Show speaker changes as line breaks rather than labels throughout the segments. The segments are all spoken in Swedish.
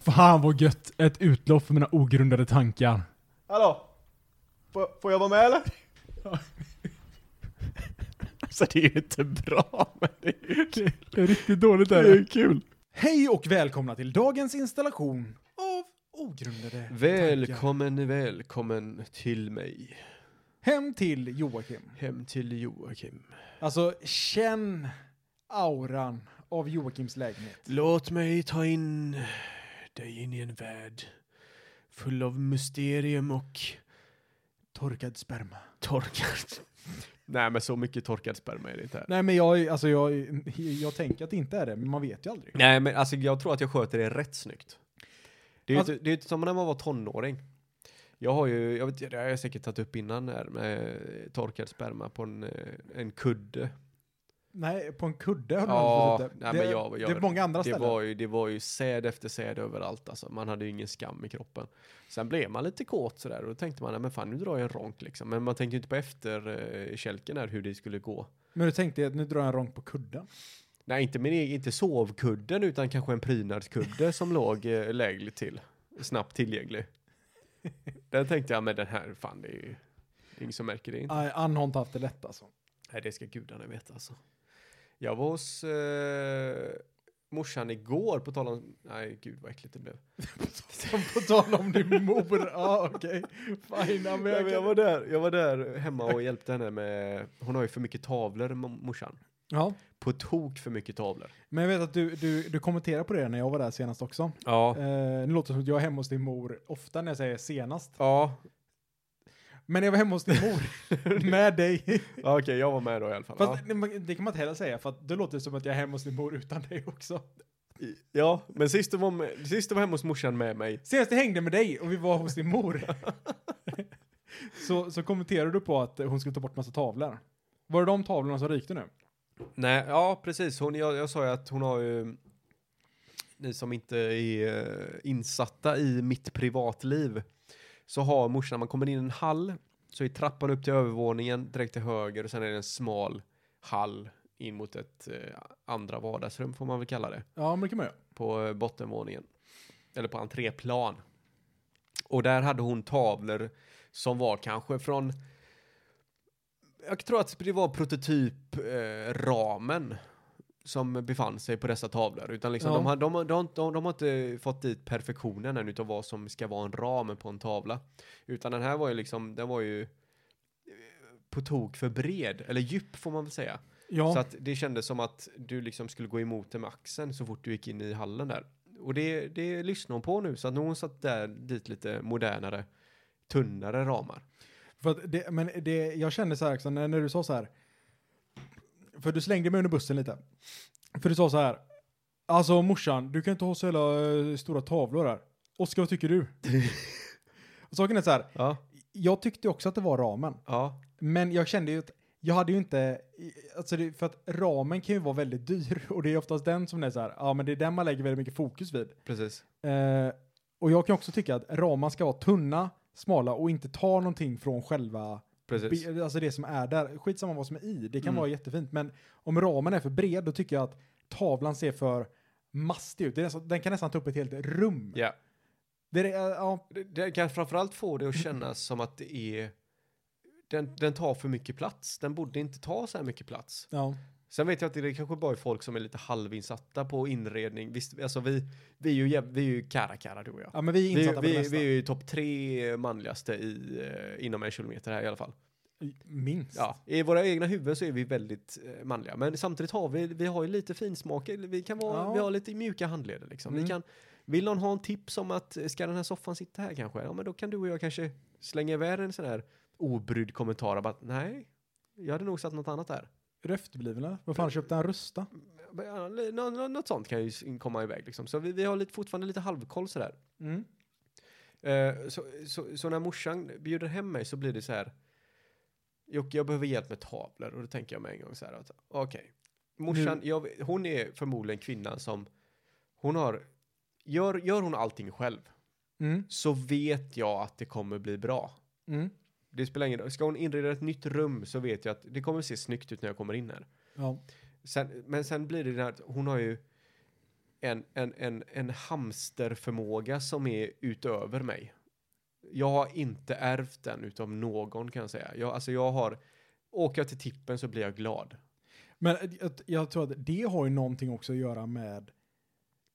Fan vad gött! Ett utlopp för mina ogrundade tankar.
Hallå? Får, får jag vara med eller?
Alltså det är ju inte bra, men det är ju kul.
Det är riktigt dåligt
Det är ju kul.
Hej och välkomna till dagens installation av ogrundade tankar.
Välkommen, välkommen till mig.
Hem till Joakim.
Hem till Joakim.
Alltså, känn auran av Joakims lägenhet.
Låt mig ta in dig in i en värld full av mysterium och
Torkad sperma.
torkad... Nej, men så mycket torkad sperma är det inte här.
Nej men jag, alltså jag, jag tänker att det inte är det, men man vet ju aldrig.
Nej, men alltså jag tror att jag sköter det rätt snyggt. Det är ju
Alltså-
inte, det är ju inte som när man var tonåring. Jag har ju, jag vet det har jag säkert tagit upp innan här, med eh, torkad sperma på en, eh, en kudde.
Nej, på en kudde har du
Ja,
aldrig fått upp det.
nej,
det,
men jag- jag-
det är många andra
Det
ställen.
var, ju, det var ju säd efter säd överallt alltså. Man hade ju ingen skam i kroppen. Sen blev man lite kåt sådär och då tänkte man, "Nej, men fan nu drar jag en ronk liksom. Men man tänkte ju inte på efterkälken här hur det skulle gå.
Men du tänkte att nu drar jag en ronk på kudden.
Nej, inte, min egen, inte sovkudden utan kanske en prydnadskudde som låg eh, lägligt till. Snabbt tillgänglig. Den tänkte jag, men den här, fan det är ju det är ingen som märker det. Inte.
Nej, Ann har inte haft det lätt alltså.
Nej, det ska gudarna veta alltså. Jag var hos eh, morsan igår på tal om, nej gud vad äckligt det blev.
på tal om din mor, ja okej. Fine, ja, men
Nej,
jag,
men jag, var där, jag var där hemma och hjälpte henne med, hon har ju för mycket tavlor mo- morsan.
Ja,
På tok för mycket tavlor.
men jag vet att du, du, du kommenterade på det när jag var där senast också.
Ja.
Eh, nu låter det som att jag är hemma hos din mor ofta när jag säger senast.
Ja,
Men jag var hemma hos din mor med dig.
ja, okej jag var med då i alla fall.
Fast det- det kan man inte heller säga för att då låter det som att jag är hemma hos din mor utan dig också.
ja. ja, men sist du var, med, sist du var hemma hos morsan med mig.
Senast jag hängde med dig och vi var hos din mor. så, så kommenterade du på att hon skulle ta bort massa tavlor. Var det de tavlorna som rykte nu?
Nej, ja precis. Hon, jag, jag sa ju att hon har ju, ni som inte är eh, insatta i mitt privatliv, så har morsan, man kommer in i en hall, så är trappan upp till övervåningen, direkt till höger och sen är det en smal hall in mot ett eh, andra vardagsrum får man väl kalla det,
Ja, men det kan man göra.
på eh, bottenvåningen. Eller på entréplan. Och där hade hon tavlor som var kanske från, jag tror att det var prototypramen eh, ramen som befann sig på dessa tavlor. Utan liksom
Ja.
de, har, de, har- de, har inte- de, de har inte fått dit perfektionen än utav vad som ska vara en ram på en tavla. Utan den här var ju liksom, den var ju eh, på tok för bred, eller djup får man väl säga.
Ja,
Så att det kändes som att du liksom skulle gå emot det med axeln så fort du gick in i hallen där. Och det, det lyssnar hon på nu, så att nu har hon satt där dit lite modernare, tunnare ramar.
för att det, men det, jag kände så här också när, när du sa så här. För du slängde mig under bussen lite. För du sa så här. Alltså morsan, du kan inte ha så jävla eh, stora tavlor här. Oskar, vad tycker du? och saken är så här,
Ja,
jag tyckte också att det var ramen.
ja,
Men jag kände ju att jag hade ju inte, alltså det, för att ramen kan ju vara väldigt dyr och det är oftast den som är så här, ja men det är den man lägger väldigt mycket fokus vid.
precis.
Eh, och jag kan också tycka att ramar ska vara tunna, smala och inte ta någonting från själva,
Precis.
be- alltså det som är där. Skitsamma vad som är i, det kan
Mm.
vara jättefint men om ramen är för bred då tycker jag att tavlan ser för mastig ut. Det är nästan, den kan nästan ta upp ett helt rum.
Ja.
Det är, det- ja,
Det, det kan framförallt få det att kännas som att det är... Den, den tar för mycket plats. Den borde inte ta så här mycket plats.
ja.
Sen vet jag att det kanske bara är folk som är lite halvinsatta på inredning. Visst, alltså vi, vi är ju, jäv- vi är ju kara kara du och jag.
ja, men vi är
Vi,
insatta på det
vi,
mesta.
vi är ju topp tre manligaste i, eh, inom en kilometer här i alla fall.
Minst.
Ja, I våra egna huvuden så är vi väldigt eh, manliga. Men samtidigt har vi, vi har ju lite finsmak. eller Vi, kan vara,
Ja.
vi har lite mjuka handleder liksom.
Mm.
Vi kan, vill någon ha en tips om att eh, ska den här soffan sitta här kanske? Ja, men då kan du och jag kanske slänga iväg en sån här obrydd kommentar. Bara, nej, jag hade nog satt något annat där.
Röftblivna. Vad fan köpte han Rusta?
Men, ja, nå- nå- Något sånt kan ju s- komma iväg liksom. Så vi, vi har lite, fortfarande lite halvkoll sådär.
Mm.
Eh, så, så, så när morsan bjuder hem mig så blir det så här. Jocke, jag behöver hjälp med tavlor. Och då tänker jag mig en gång så här. att, Okej. Morsan, jag, hon är förmodligen kvinnan som. Hon har. Gör, gör hon allting själv.
Mm.
Så vet jag att det kommer bli bra.
Mm.
Det spelar ingen roll. Ska hon inreda ett nytt rum så vet jag att det kommer se snyggt ut när jag kommer in här.
Ja.
Sen, men sen blir det där att hon har ju en, en, en, en hamsterförmåga som är utöver mig. Jag har inte ärvt den utav någon kan jag säga. Jag, alltså jag har, åker jag till tippen så blir jag glad.
Men jag, jag tror att det har ju någonting också att göra med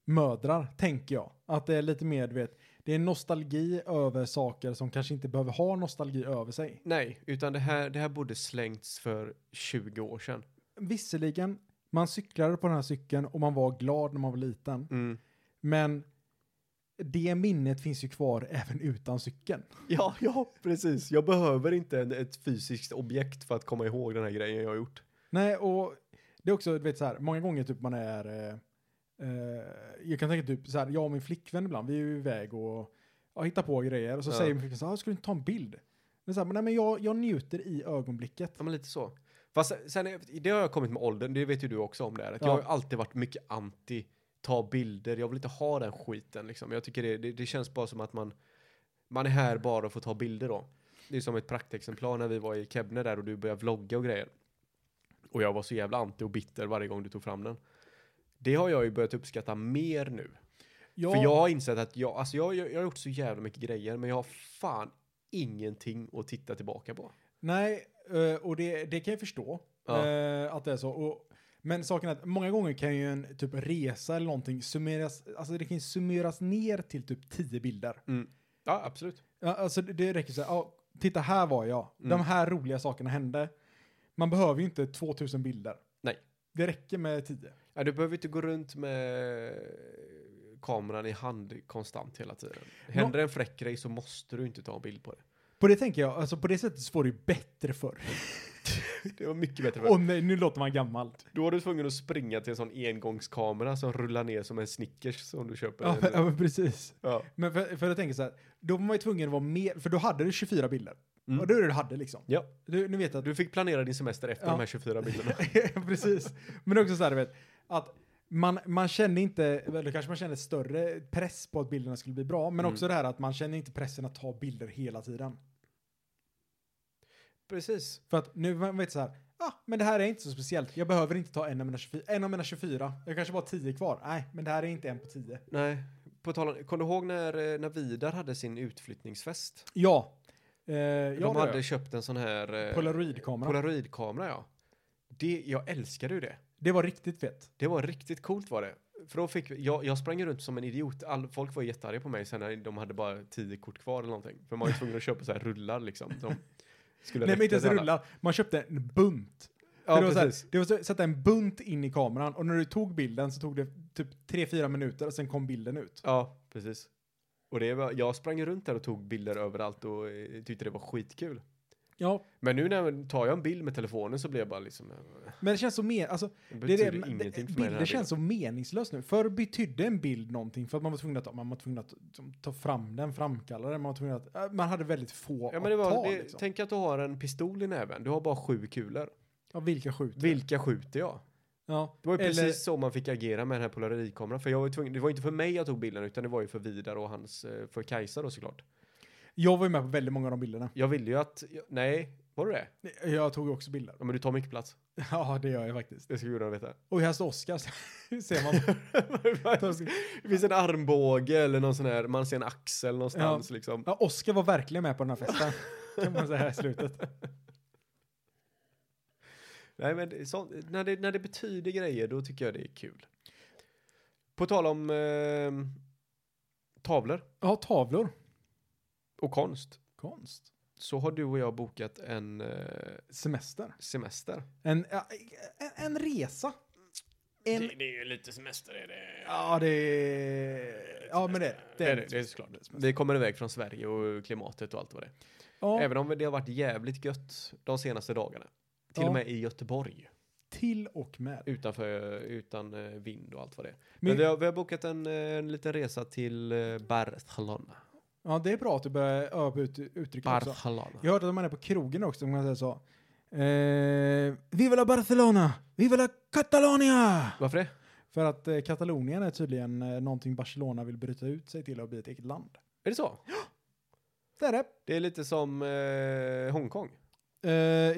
mödrar, tänker jag. Att det är lite mer, du vet, det är nostalgi över saker som kanske inte behöver ha nostalgi över sig.
Nej, utan det här, det här borde slängts för 20 år sedan.
Visserligen, man cyklade på den här cykeln och man var glad när man var liten. Men det minnet finns ju kvar även utan cykeln.
Ja, ja, precis. Jag behöver inte en, ett fysiskt objekt för att komma ihåg den här grejen jag har gjort.
Nej, och det är också, du vet så här, många gånger typ man är, eh, eh, jag kan tänka typ så här, jag och min flickvän ibland, vi är ju iväg och ja, hittar på grejer och så
Ja.
säger min flickvän så här, "Ah, ska du inte ta en bild? Men, så här, men, nej, men jag, jag njuter i ögonblicket.
Ja, men lite så. Fast sen, är- det har jag kommit med åldern, det vet ju du också om det här. Att Jag
Ja.
har ju alltid varit mycket anti ta bilder, jag vill inte ha den skiten liksom. Jag tycker det, det, det känns bara som att man, man är här bara för att ta bilder då. Det är som ett praktexemplar när vi var i Kebne där och du började vlogga och grejer. Och jag var så jävla anti och bitter varje gång du tog fram den. Det har jag ju börjat uppskatta mer nu.
Jag,
För jag har insett att jag, alltså jag, har ju- jag har gjort så jävla mycket grejer men jag har fan ingenting att titta tillbaka på.
Nej, eh, och det, det kan jag förstå
Ja.
eh, att det är så. Och, men saken är att många gånger kan ju en typ resa eller någonting summeras, alltså det kan ju summeras ner till typ tio bilder.
Ja, absolut.
Ja, alltså det- det räcker så här, ja, titta här var jag,
Mm.
de här roliga sakerna hände. Man behöver ju inte 2000 bilder.
Nej.
Det räcker med 10.
Ja, du behöver inte gå runt med kameran i hand konstant hela tiden. Händer en fräck grej så måste du inte ta en bild på det.
På det tänker jag, alltså på det sättet så var det ju bättre förr.
Det var mycket bättre.
Och nej, nu låter man gammal.
Då var du tvungen att springa till en sån engångskamera som rullar ner som en Snickers som du köper.
Ja, men, ja, men precis.
Ja.
Men för, för jag tänker så här, då var man ju tvungen att vara mer, för då hade du 24 bilder.
Mm.
Och det är det du hade liksom.
Ja.
Du, nu vet jag att
Du fick planera din semester efter
Ja.
de här 24 bilderna.
Precis. Men också så här, du vet, att man, man kände inte, eller kanske man kände större press på att bilderna skulle bli bra, men
Mm.
också det här att man kände inte pressen att ta bilder hela tiden.
Precis.
För att nu man vet så här, ah, men det här är inte så speciellt, jag behöver inte ta en av mina 24, en av mina 24. jag kanske bara har 10 kvar. Nej, men det här är inte en på 10.
Nej. På tal om, kom du ihåg när, eh, när Vidar hade sin utflyttningsfest?
Ja. Eh, ja,
de
det
hade
gör jag.
köpt en sån här... eh,
Polaroidkamera.
Polaroidkamera, ja. Det, jag älskade ju det.
det var riktigt fett.
Det var riktigt coolt var det. För då fick vi- jag, jag sprang runt som en idiot. All, folk var jättearga på mig sen när de hade bara tio kort kvar eller någonting. För man var ju tvungen att köpa så här rullar liksom. De skulle
Nej, men inte
räcka
ens
till alla.
rullar. Man köpte en bunt.
Ja,
För det, var så här,
precis.
det var så sätta en bunt in i kameran och när du tog bilden så tog det typ 3-4 minuter och sen kom bilden ut.
Ja, precis. Och det var, jag sprang runt där och tog bilder överallt och eh, tyckte det var skitkul.
Ja.
Men nu när tar jag en bild med telefonen så blir jag bara liksom... eh,
Men det känns så mer, alltså,
Det
det
betyder
är det,
ingenting
det,
för mig. den här
bilder känns
bilden.
så meningslöst nu. Förr betydde en bild någonting för att man var tvungen att, man var tvungen att liksom, ta fram den, framkalla den, man var tvungen att, äh, man hade väldigt få
Ja, men det var,
att ta
det,
liksom.
Tänk att du har en pistol i näven. Du har bara sju kulor.
ja, vilka skjuter?
Vilka skjuter jag?
ja.
Det var ju
Eller-
precis så man fick agera med den här polaroidkameran. För jag var ju tvungen, det var inte för mig jag tog bilden utan det var ju för Vidar och hans, eh, för Kajsa då såklart.
Jag var ju med på väldigt många av de bilderna.
Jag ville ju att, jag, nej, var du det?
Jag tog ju också bilder.
Ja men du tar mycket plats.
Ja, det gör jag faktiskt.
Det ska gudarna veta.
Och här står Oscar, ser man.
det finns en armbåge eller någon sån här, man ser en axel någonstans liksom.
Ja, Oscar var verkligen med på den här festen. Kan man säga i slutet.
Nej men det- sånt, när, det, när det betyder grejer då tycker jag det är kul. På tal om eh, tavlor
Ja, tavlor.
och konst
Konst.
så har du och jag bokat en eh,
Semester.
semester.
En, ja, en, en resa. En,
det är ju lite semester är det.
ja, det är... Ja, men det,
Det
en
är det, det är såklart.
semester.
Vi kommer iväg från Sverige och klimatet och allt vad det är.
Ja,
Även om det har varit jävligt gött de senaste dagarna. Till
Ja.
och med i Göteborg.
till och med.
Utanför, utan eh, vind och allt vad det är. Men,
Men,
vi, har, vi har bokat en, eh, en liten resa till eh, Barcelona.
ja, det är bra att du börjar öva ut uttrycket också.
Barcelona.
Jag hörde att man är på krogen också, man säger så. Eh, viva la Barcelona! Viva la Catalonia!
Varför det?
För att eh, Katalonien är tydligen eh, någonting Barcelona vill bryta ut sig till och bli ett eget land.
Är det så?
Det är det.
Det är lite som eh, Hongkong.
Eh,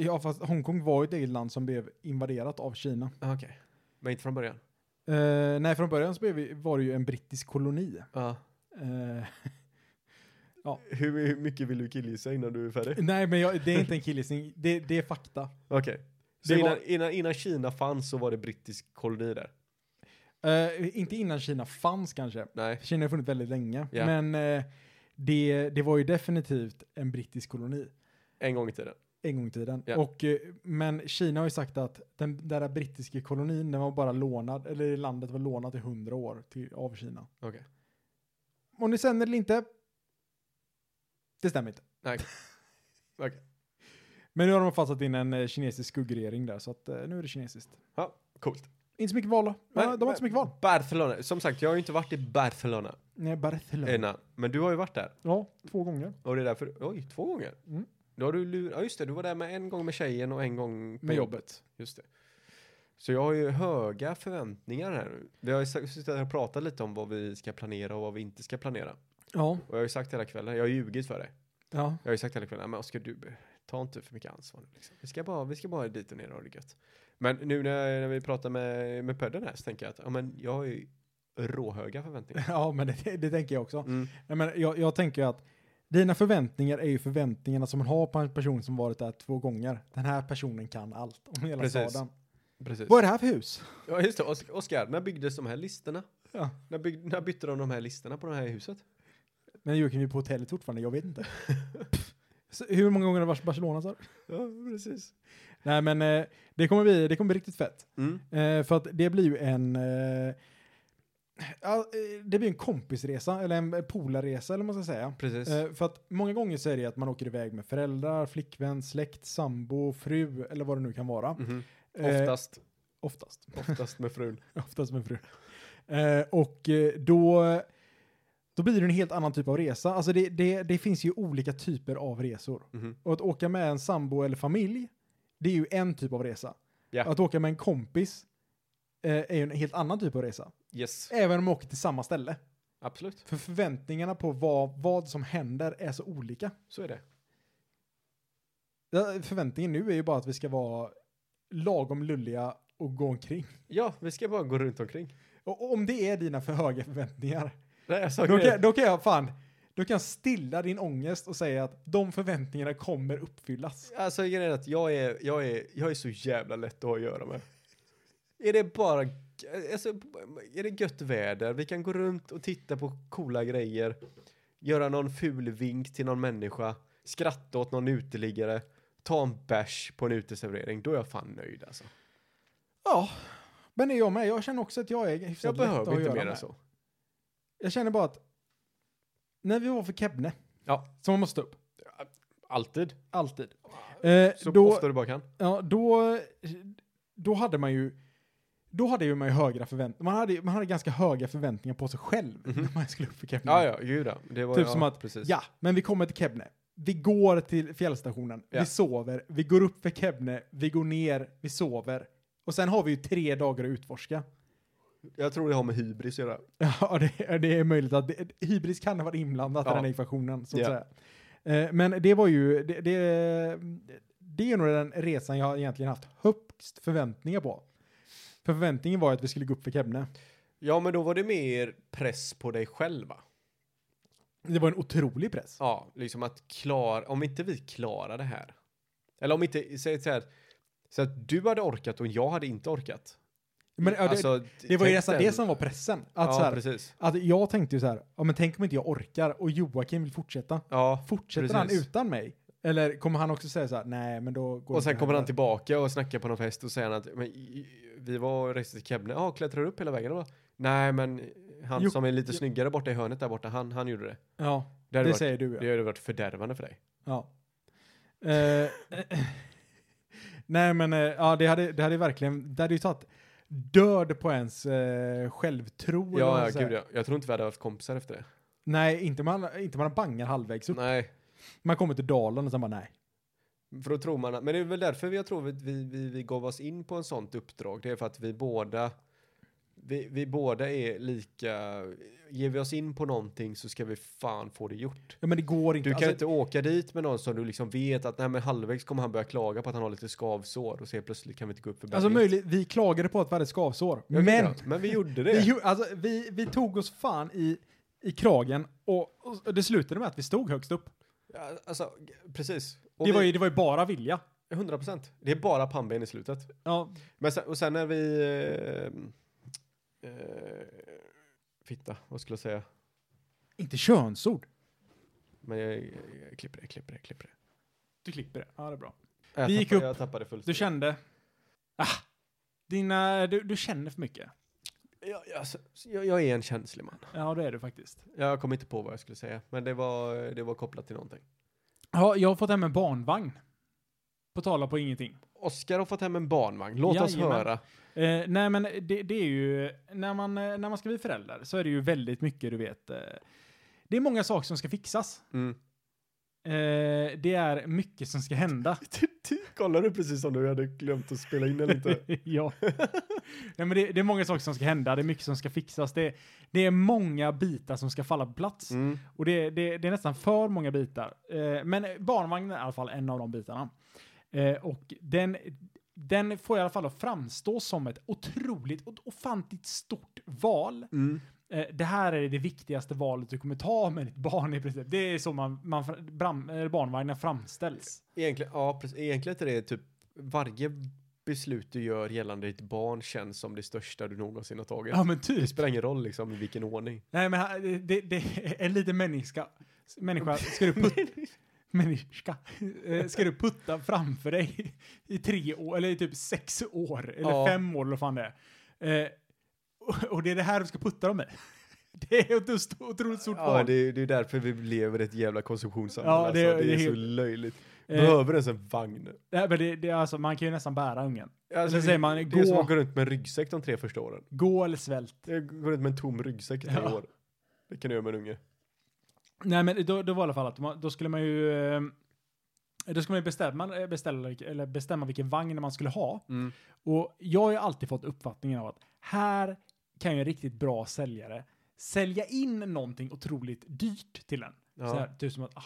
ja, fast Hongkong var ju ett eget land som blev invaderat av Kina.
Ah, Okej. Men inte från början.
Eh, nej, från början så blev vi, var det ju en brittisk koloni.
Ja.
Eh,
Hur, hur mycket vill du killgissa innan du är färdig?
nej, men jag, det är inte en killgissning. Det, det är fakta.
Okej.
Det
Så innan,
var-
innan, innan Kina fanns så var det brittisk koloni där?
Eh, inte innan Kina fanns kanske.
Nej.
Kina har funnits väldigt länge.
Ja.
Men eh, det, det var ju definitivt en brittisk koloni
En gång i tiden?
en gång i tiden.
Ja.
Och, eh, men Kina har ju sagt att den där brittiska kolonin, den var bara lånad, eller landet var lånat i hundra år till, av Kina.
Okej.
Om ni känner eller inte, det stämmer inte.
Nej. Okej.
Men nu har de fastsatt in en eh, kinesisk skuggregering där, så att, eh, nu är det kinesiskt.
Ja, coolt.
Inte så mycket val då.
Nej,
Nej, de har inte så mycket val.
Barcelona. Som sagt, jag har ju inte varit i Barcelona
Nej, Barcelona.
innan. Men du har ju varit där.
Ja, två gånger.
Och det är därför... Oj, två gånger?
Mm.
Då har du lur... Ja, just det. Du var där med en gång med tjejen och en gång på
Med jobbet.
Just det. Så jag har ju höga förväntningar här nu. Vi har ju sa- suttit här och pratat lite om vad vi ska planera och vad vi inte ska planera.
Ja.
Och jag har ju sagt hela kvällen, jag har ljugit för dig.
Ja.
Jag har ju sagt hela kvällen, men Oskar du, ta inte för mycket ansvar. nu, Liksom. Vi, ska bara, vi ska bara dit och ner och ha det gött. Men nu när, när vi pratar med, med Pödden här så tänker jag att ja, men jag har ju råhöga förväntningar.
ja, men det, det tänker jag också.
Mm.
Nej, men jag, jag tänker ju att dina förväntningar är ju förväntningarna som man har på en person som varit där två gånger. Den här personen kan allt om hela
Precis.
staden.
Precis.
Vad är det här för hus?
Ja, just det. Os- Oskar, när byggdes de här listorna?
Ja.
När, bygg, när bytte de de här listorna på det här huset?
Men Joakim, vi är på hotellet fortfarande, jag vet inte. Pff. Så hur många gånger har du varit i Barcelona? Så?
Ja, precis.
Nej, men eh, det kommer bli, det kommer bli riktigt fett.
Mm.
Eh, för att det blir ju en... Eh, ja, eh, det blir en kompisresa, eller en polarresa eller vad man ska säga.
Precis.
Eh, för att många gånger så är det att man åker iväg med föräldrar, flickvän, släkt, sambo, fru eller vad det nu kan vara.
Mhm.
Eh,
Oftast,
Oftast.
oftast med frun.
Oftast med fru. Eh, och eh, då, då blir det en helt annan typ av resa. Alltså det, det, det finns ju olika typer av resor.
Mhm.
Och att åka med en sambo eller familj, det är ju en typ av resa.
Ja.
Att åka med en kompis eh, är ju en helt annan typ av resa.
Yes,
Även om man åker till samma ställe.
absolut.
För förväntningarna på vad, vad som händer är så olika.
Så är det.
Ja, Förväntningen nu är ju bara att vi ska vara lagom lulliga och gå omkring.
Ja, vi ska bara gå runt omkring.
Och om det är dina för höga förväntningar,
Nej, jag sa
Då
grejer.
kan, då kan jag fan, då kan jag stilla din ångest och säga att de förväntningarna kommer uppfyllas.
Alltså grejen är att jag är, jag, är, jag är så jävla lätt att ha att göra med. Är det bara, alltså, är det gött väder, vi kan gå runt och titta på coola grejer, göra någon ful vink till någon människa, skratta åt någon uteliggare, ta en bärs på en uteservering, då är jag fan nöjd alltså.
Ja, men det är jag med. Jag känner också att jag är hyfsat
Jag
lätt att
behöver inte
göra
mer än
med.
så.
Jag känner bara att när vi var för Kebne,
Ja.
som man måste upp,
Alltid.
alltid. Eh,
Så
då, Mm.
ofta du bara kan.
ja, då, då hade man ju då hade ju man ju högre förväntningar. Man hade, man hade ganska höga förväntningar på sig själv när man skulle upp för Kebne.
Mhm. Ja, ja, gud ja. Det var,
Typ
ja,
som att,
precis.
ja, men vi kommer till Kebne. Vi går till fjällstationen,
Ja.
vi sover, vi går upp för Kebne, vi går ner, vi sover. Och sen har vi ju tre dagar att utforska.
Jag tror det har med hybris att göra.
Ja, det, det är möjligt att det, hybris kan ha varit inblandat
Ja.
i den här ekvationen, så att
Ja.
säga. Eh, Men det var ju, det, det, det är nog den resan jag har egentligen haft högst förväntningar på. För förväntningen var ju att vi skulle gå upp för Kebne.
Ja, men då var det mer press på dig själva.
Det var en otrolig press.
Ja, liksom att klara, om inte vi klarar det här. Eller om inte, säg så här, så att du hade orkat och jag hade inte orkat.
Men ja, det,
Alltså,
det var ju
tänk
nästan
den-
det som var pressen. Att
ja,
så här,
precis.
Att jag tänkte ju så här, ja men tänk om inte jag orkar och Joakim vill fortsätta.
Ja,
Fortsätter
Precis.
han utan mig? Eller kommer han också säga så här, nej men då går
och sen
inte
kommer han
heller."
tillbaka och snackar på någon fest och säger att men, i- vi var och reste till Kebne, ja, klättrar upp hela vägen. Och bara, Nej, men han
Jo,
som är lite
jo.
snyggare borta i hörnet där borta, han, han gjorde det.
Ja,
Det
det,
hade, varit,
säger du
det
ja.
hade varit fördärvande för dig.
ja. Eh, nej men, eh, ja det hade, det hade verkligen, det hade ju tagit död på ens eh, självtro. eller vad man
Ja,
ska
ja, gud
säga.
ja. Jag tror inte vi hade haft kompisar efter det.
Nej, inte man, inte man bangar halvvägs upp.
Nej.
Man kommer till dalen och sen bara nej.
För då tror man, att- men det är väl därför jag tror att vi, vi, vi gav oss in på en sånt uppdrag. Det är för att vi båda vi, vi båda är lika, ger vi oss in på någonting så ska vi fan få det gjort.
Ja, men det går inte.
Du kan
Alltså,
inte åka dit med någon som du liksom vet att nej, men halvvägs kommer han börja klaga på att han har lite skavsår och så helt plötsligt kan vi inte gå upp för
alltså
berget.
möjligt, vi klagade på att vi hade skavsår.
Jag vet
Men
inte, men vi gjorde
vi,
det.
gjorde- alltså, vi, vi tog oss fan i, i kragen och, och det slutade med att vi stod högst upp.
Ja, Alltså, g- precis. Och
Det var,
vi,
ju, det var ju bara vilja.
100 procent. Det är bara pannben i slutet.
Ja,
Men sen, och sen när vi... Eh, eh, fitta, vad skulle jag säga?
inte könsord.
Men jag, jag, jag klipper det, klipper det, klipper det.
Du klipper det. Ja, det är bra.
Jag
Vi gick
tappade-
upp.
Jag tappade fullständigt.
Du kände... Ah, dina, du, du känner för mycket.
Jag, jag, alltså, jag, jag är en känslig man.
Ja, det är du faktiskt.
Jag kom inte på vad jag skulle säga, men det var, det var kopplat till någonting.
Ja, jag har fått hem en barnvagn. På tala på ingenting.
Oskar har fått hem en barnvagn. Låt oss
Jajamän.
höra.
Eh, nej, men det, det är ju... När man, eh, när man ska bli förälder så är det ju väldigt mycket, du vet. Eh, det är många saker som ska fixas.
Mm.
Eh, det är mycket som ska hända.
Kollar du precis som du hade glömt att spela in eller inte?
ja. Nej, men det, det är många saker som ska hända. Det är mycket som ska fixas. Det, det är många bitar som ska falla på plats.
Mm.
Och det, det, det är nästan för många bitar. Eh, men barnvagnen är i alla fall en av de bitarna. Eh, och den, den får i alla fall att framstå som ett otroligt, och ofantligt stort val.
Mm.
Eh, det här är det viktigaste valet du kommer ta med ditt barn i princip. Det är så man, man fra- bram, eh, barnvagnen framställs.
Egentligen, ja, precis. Egentligen är det typ varje beslut du gör gällande ditt barn känns som det största du någonsin har tagit.
Ja men typ.
Det spelar ingen roll liksom i vilken ordning.
Nej men här- det, det, det en liten människa, människa ska du putta, människa, eh, ska du putta framför dig i tre år, eller i typ sex år, eller
Ja.
fem år eller vad fan det är. Eh, och, och det är det här du ska putta dem i. Det är ett ost- otroligt stort
Ja,
val.
det, är- det är därför vi lever i ett jävla konsumtionssamhälle.
Ja, det är-
alltså, det,
det är
är så
helt-
löjligt.
Eh.
Behöver ens en vagn?
Nej, men det, det är alltså, man kan ju nästan bära ungen.
Alltså,
eller säger man,
det är som
gå,
att gå runt med en ryggsäck de tre första åren.
gå eller svält.
Jag går runt med en tom ryggsäck i tre
Ja.
år. Det kan du göra med en unge.
Nej men då, då var i alla fall att man, då skulle man ju, eh, då skulle man ju bestämma, eh, beställa, eller bestämma vilken vagn man skulle ha.
Mm.
Och jag har ju alltid fått uppfattningen av att här kan ju en riktigt bra säljare sälja in någonting otroligt dyrt till en.
Ja.
Så här, typ som att, ah,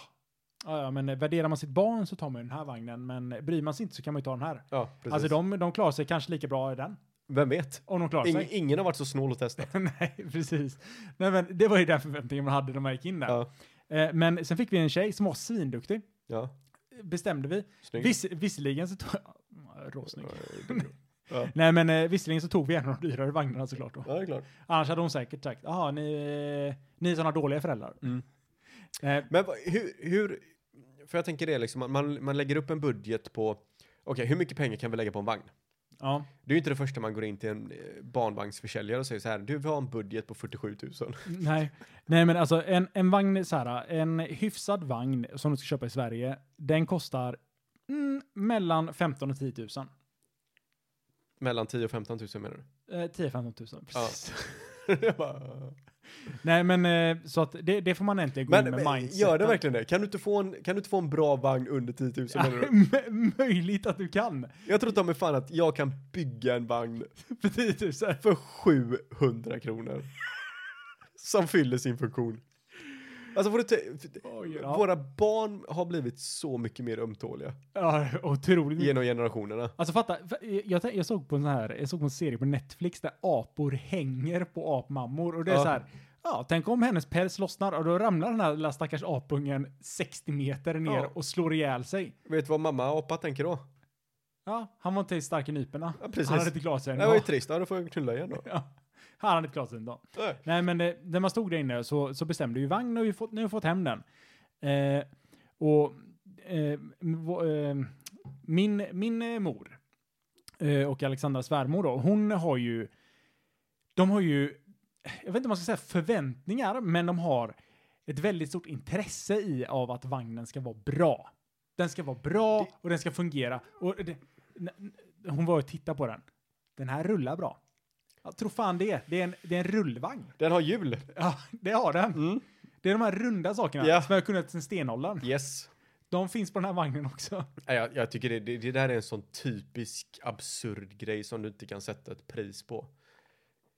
ja, ja, men eh, värderar man sitt barn så tar man ju den här vagnen, men eh, bryr man sig inte så kan man ju ta den här.
Ja, precis.
Alltså de, de klarar sig kanske lika bra i den,
Vem vet?
om de klarar
Ing,
sig.
ingen har varit så snål och testat.
Nej, precis. Nej, men det var ju den förväntningen man hade när man gick in där.
Ja.
Eh, Men sen fick vi en tjej som var svinduktig,
Ja,
bestämde vi.
snygg.
Viss, visserligen så tog... Råsnygg.
Ja, det är bra. Ja.
Nej, men eh, visserligen så tog vi en av de dyrare vagnarna såklart då.
ja, det är klart.
Annars hade hon säkert sagt, jaha, ni, eh, ni är sådana dåliga föräldrar.
Mm.
Eh,
Men vad- hur, hur, för jag tänker det liksom, att man, man lägger upp en budget på, okej hur mycket pengar kan vi lägga på en vagn?
ja.
Det är ju inte det första man går in till en eh, barnvagnsförsäljare och säger så här, du vi har en budget på 47 000.
Nej. Nej, men alltså en, en vagn, så här, en hyfsad vagn som du ska köpa i Sverige, den kostar mm, mellan 15 och 10 000.
Mellan 10 000 och 15 000 menar du?
Eh, 10-15 000, precis.
Jag bara,
Nej, men eh, så att det, det får man egentligen gå
men
in med
men
mindseten.
gör det verkligen det? Kan du, inte få en, kan du inte få en bra vagn under 10 000
Ja,
menar du?
m- möjligt att du kan.
Jag tror inte om fan att jag kan bygga en vagn
För 10 000.
för 700 kronor. som fyller sin funktion. Alltså får du te-
Oj, ja. Mm.
Våra barn har blivit så mycket mer ömtåliga
Ja, otroligt mycket.
genom generationerna.
Alltså fatta, f- jag, jag såg på en sån här, jag såg på en serie på Netflix där apor hänger på apmammor och det är
Ja.
så här, ja, tänk om hennes päls lossnar och då ramlar den här lilla stackars apungen 60 meter ner
Ja.
och slår ihjäl sig.
Vet du vad mamma apa tänker då?
Ja, han var inte stark i nyporna.
Ja, precis.
Han hade inte klarat sig
Det var ju
ändå.
trist, ja, då får jag knulla igen då.
Ja, han hade inte klarat sig ändå.
Nej.
Nej, men det, när man stod där inne så, så bestämde ju vagn och vi fått, nu har vi fått hem den. Eh, och eh, vå- eh, min, min eh, mor eh, och Alexandras svärmor då, hon har ju, de har ju, jag vet inte om man ska säga förväntningar, men de har ett väldigt stort intresse i av att vagnen ska vara bra. Den ska vara bra och den ska fungera. Och det, n- n- hon var och tittade på den. Den här rullar bra. Jag tror fan det. Det är en, det är en rullvagn.
Den har hjul.
Ja, det har den. Det är de här runda sakerna
Mm. Ja.
som jag har kunnat sedan stenåldern.
Yes.
De finns på den här vagnen också.
Nej, Jag, jag tycker det, det, det där är en sån typisk absurd grej som du inte kan sätta ett pris på.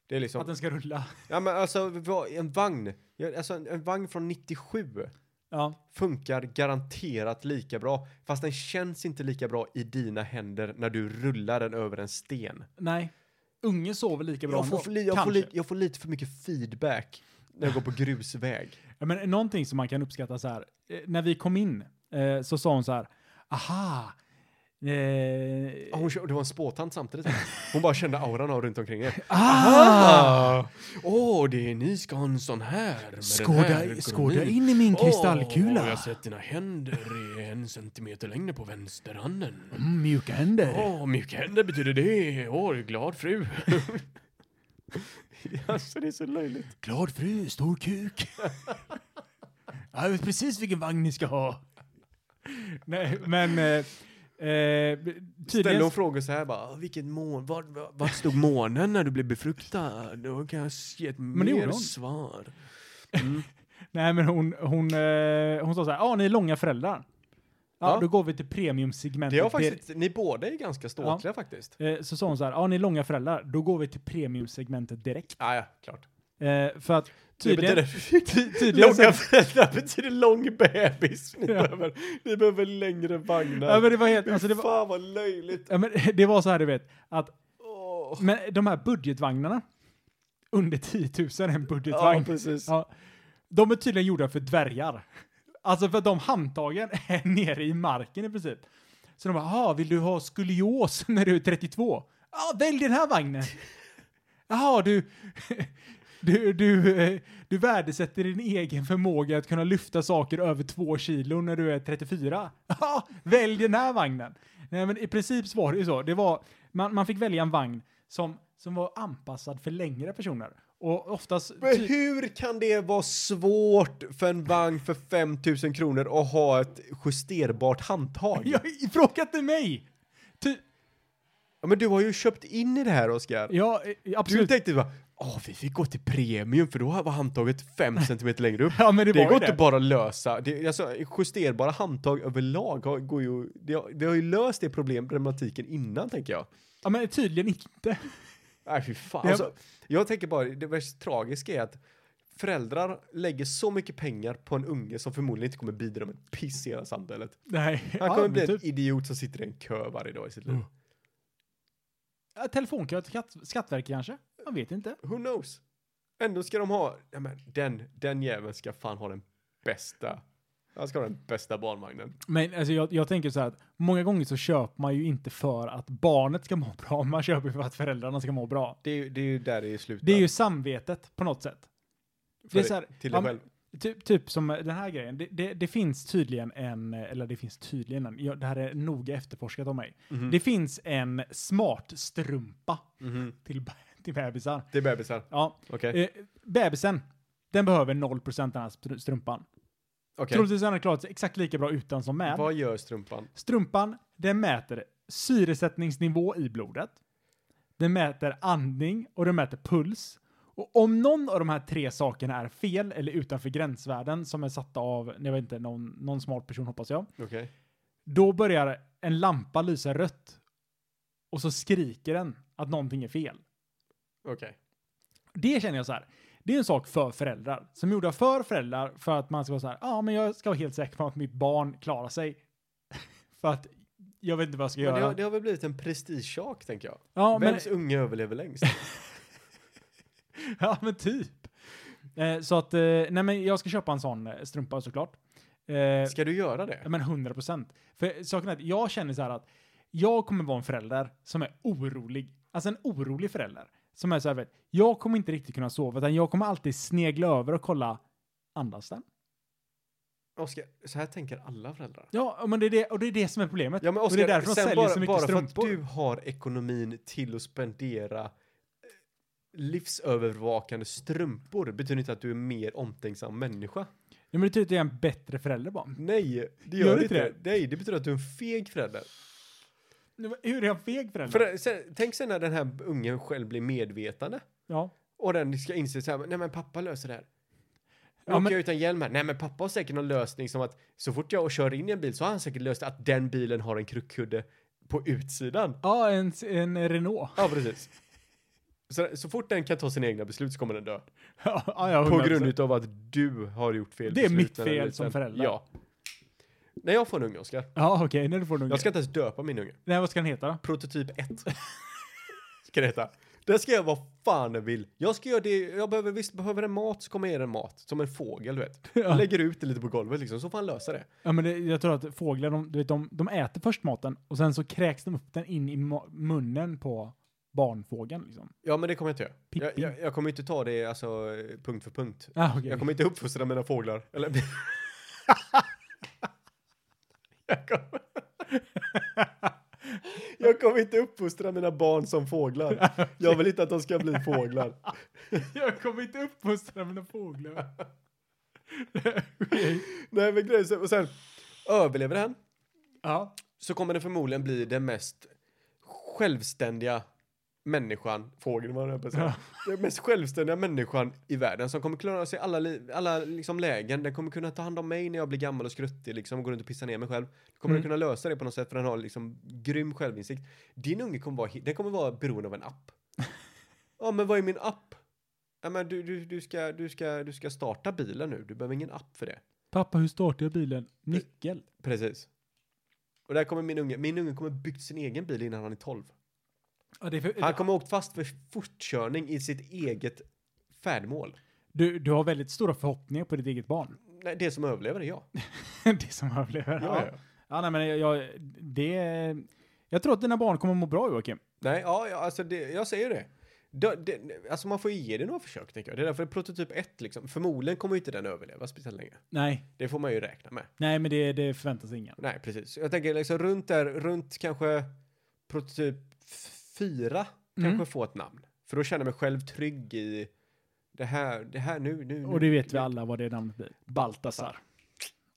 Det är liksom,
Att den ska rulla.
ja men alltså vad- en vagn, Ja, alltså en, en vagn från 97
Ja.
funkar garanterat lika bra, fast den känns inte lika bra i dina händer när du rullar den över en sten.
Nej. Ungen sover lika bra
Jag får,
ändå.
li- jag, får
Kanske.
li- jag får lite för mycket feedback när jag går på grusväg.
Ja, men någonting som man kan uppskatta så här. eh, När vi kom in eh, så sa hon så här. Aha.
Ja,
Eh,
Hon, kö- det var en spåtant samtidigt. Hon bara kände auran av runt omkring er.
ah!
Åh, det är, ni ska ha en sån här. Med den här
Skåda, skåda
ekonomin.
in i min
Åh,
kristallkula.
jag har sett dina händer är en centimeter längre på vänsterhanden.
Mm, mjuka händer.
Åh, mjuka händer betyder det. Åh, glad fru. alltså, det är så löjligt.
Glad fru, stor kuk. jag vet precis vilken vagn ni ska ha. Nej, men... Eh, eh,
Ställde
tydligen...
hon frågor så här bara, vilken mån, var, var, var stod månen när du blev befruktad? Då kan jag ge ett
det gjorde
mer
hon.
svar.
Nej, men hon, hon, eh, hon sa så här, ja, ni är långa föräldrar. Ja,
Ja.
då går vi till
Det har
premiumsegmentet.
faktiskt, ni båda är ganska ståtliga faktiskt.
dir- eh, så sa hon så här, ja, ni är långa föräldrar, då går vi till premiumsegmentet direkt.
Ah, ja, klart.
Eh, för att tydligen...
Det betyder,
tydligen
långa
sen-
föräldrar betyder lång bebis. Ni,
Ja.
behöver, ni behöver längre vagnar.
Ja, men det var helt... Alltså, det,
det
var,
Fan vad löjligt.
ja, men, det var så här, du vet, att
Åh.
men de här budgetvagnarna, under 10 000 är en budgetvagn.
Ja, precis.
Ja. De är tydligen gjorda för dvärgar. Alltså för att de handtagen är nere i marken i princip. Så de bara, "Aha, vill du ha skolios när du är 32? Ja, välj den här vagnen. Jaha, du, du, du, eh, du värdesätter din egen förmåga att kunna lyfta saker över två kilo när du är 34. Ja, välj den här vagnen. Nej, men i princip så var det ju så. Det var, man, man fick välja en vagn som, som var anpassad för längre personer. Och oftast...
Men hur kan det vara svårt för en vagn för 5000 kronor att ha ett justerbart handtag? Ja.
Jag frågar inte mig! Ty,
men du har ju köpt in i det här Oskar.
ja, eh,
Du
absolut.
tänkte bara, åh vi fick gå till premium för då var handtaget 5 centimeter längre upp.
Ja, men det,
Det
var ju
går inte
det.
bara att lösa. Det, alltså, justerbara handtag överlag har, går ju, det, har- det har ju löst det problem, problematiken innan tänker jag.
Ja, men tydligen inte.
Nej fy fan.
Ja,
Alltså, jag tänker bara, det värst tragiska är att föräldrar lägger så mycket pengar på en unge som förmodligen inte kommer bidra med ett piss i hela samhället.
Nej.
Han
Ja,
kommer
men
bli
typ.
en idiot som sitter i en kö varje dag i sitt liv.
Mm. Ja, Telefonkö till skatt, Skatteverket kanske? Man vet inte.
Who knows? Ändå ska de ha, ja, men den, den jäveln ska fan ha den bästa, han ska ha den bästa barnvagnen.
Men alltså, jag, jag tänker så här att många gånger så köper man ju inte för att barnet ska må bra, man köper för att föräldrarna ska må bra.
Det är, ju- det är ju där det slutar.
Det är ju samvetet på något sätt.
För
det är så här-
till
ja,
dig
men-
själv.
Typ, typ som den här grejen. Det, det, det finns tydligen en, eller det finns tydligen en, ja, det här är noga efterforskat av mig.
Mhm.
Det finns en smart strumpa
Mhm.
till, till bebisar.
Det är bebisar.
Ja,
Okej.
Eh, bebisen, den behöver 0% av den här str- strumpan.
Okej.
Troligtvis hade den klarat sig exakt lika bra utan som med.
Vad gör strumpan?
Strumpan, den mäter syresättningsnivå i blodet. Den mäter andning och den mäter puls. Och om någon av de här tre sakerna är fel eller utanför gränsvärden som är satta av, jag vet inte, någon, någon smart person hoppas jag.
Okej.
Då börjar en lampa lysa rött. Och så skriker den att någonting är fel.
Okej.
Det känner jag så här. Det är en sak för föräldrar. Som gjorda för föräldrar för att man ska vara så här. Ja, men jag ska vara helt säker på att mitt barn klarar sig. för att jag vet inte vad jag ska
Men det,
göra.
har, det har väl blivit en prestigesak, tänker jag.
ja, men,
Vems unge överlever längst?
ja, men typ. Eh, så att, eh, nej men jag ska köpa en sån eh, strumpa såklart. Eh,
Ska du göra
ja,
det?
men 100 procent. För saken är att jag känner så här att jag kommer vara en förälder som är orolig. Alltså en orolig förälder. Som är så här, vet, jag kommer inte riktigt kunna sova utan jag kommer alltid snegla över och kolla andas den?
Oskar, så här tänker alla föräldrar.
Ja, men det är det, och det är det som är problemet.
Ja, men
och
Oskar,
det är därför de
sen
säljer
bara,
så mycket
bara för att
strumpor.
du har ekonomin till att spendera eh, livsövervakande strumpor betyder inte att du är mer omtänksam människa.
Ja, men det betyder att jag är en bättre förälder bara.
Nej, det
Gör
gör,
det
det
inte
inte. Nej, det betyder att du är en feg förälder.
Men Hur är jag feg förälder?
För, sen, tänk sen när den här ungen själv blir medvetande
ja.
och den ska inse så här, nej men pappa löser det här. Nu
Ja,
åker
men-
jag utan hjälm här. Nej men pappa har säkert någon lösning som att så fort jag kör in i en bil så har han säkert löst att den bilen har en krockkudde på utsidan.
ja, en, en Renault.
Ja precis. Så, så fort den kan ta sina egna beslut så kommer den dö.
ja, ja,
På
100%.
grund av att du har gjort fel
Det är
beslut
mitt
när den
fel
är
som
liten.
förälder.
Ja. När jag får en unge, Oskar.
Ja, okej, när du får en unge.
Jag ska inte ens döpa min unge.
Nej, vad ska den heta då?
Prototyp 1. ska det heta. Där ska jag vad fan jag vill. Jag ska göra det, jag behöver, visst behöver den mat så kommer jag ge den mat. Som en fågel, du vet.
Ja.
Lägger ut det lite på golvet liksom, så får han lösa det.
Ja, men det, jag tror att fåglar, de, du vet, de, de äter först maten och sen så kräks de upp den in i ma- munnen på barnfågeln. Liksom.
Ja, men det kommer jag inte göra. Jag,
Pippi.
jag, jag kommer inte ta det alltså eh, punkt för punkt.
Ah, okej.
Jag kommer inte uppfostra mina fåglar. Eller... jag, kommer... jag kommer inte uppfostra mina barn som fåglar. Jag vill inte att de ska bli fåglar.
jag kommer inte uppfostra mina fåglar.
Nej, men grejen är så- och sen överlever den
ja.
så kommer den förmodligen bli den mest självständiga människan, fågeln var det jag på att säga. Den mest självständiga människan i världen som kommer klara sig i alla, li- alla liksom lägen. Den kommer kunna ta hand om mig när jag blir gammal och skruttig liksom och går runt och pissar ner mig själv. Då kommer
Mm.
den kunna lösa det på något sätt för den har liksom grym självinsikt. Din unge kommer vara, he- den kommer vara beroende av en app. ja, men vad är min app? Ja, men du, du, du, ska, du, ska, du ska starta bilen nu. Du behöver ingen app för det.
Pappa, hur startar jag bilen? Nyckel.
Precis. Och där kommer min unge. Min unge kommer byggt sin egen bil innan han är 12.
Ja, det är för,
Han kommer ha åkt fast för fortkörning i sitt eget färdmål.
du, du har väldigt stora förhoppningar på ditt eget barn.
Nej, det som överlever är jag.
det som överlever.
Ja,
ja.
ja.
ja nej, men jag, jag, det, jag tror att dina barn kommer må bra, Joakim.
Nej, ja, ja, alltså det, jag säger det. Det, det. Alltså man får ju ge det några försök tänker jag. Det är därför prototyp 1 liksom. Förmodligen kommer ju inte den överleva speciellt länge.
Nej,
Det får man ju räkna med.
nej men det, det förväntas ingen.
Nej, precis. Jag tänker liksom runt där, runt kanske prototyp 4
Mm.
kanske få ett namn. För då känner jag mig själv trygg i det här, det här nu, nu.
Och
nu,
det vet vi
nu.
alla vad det namnet blir. Baltasar.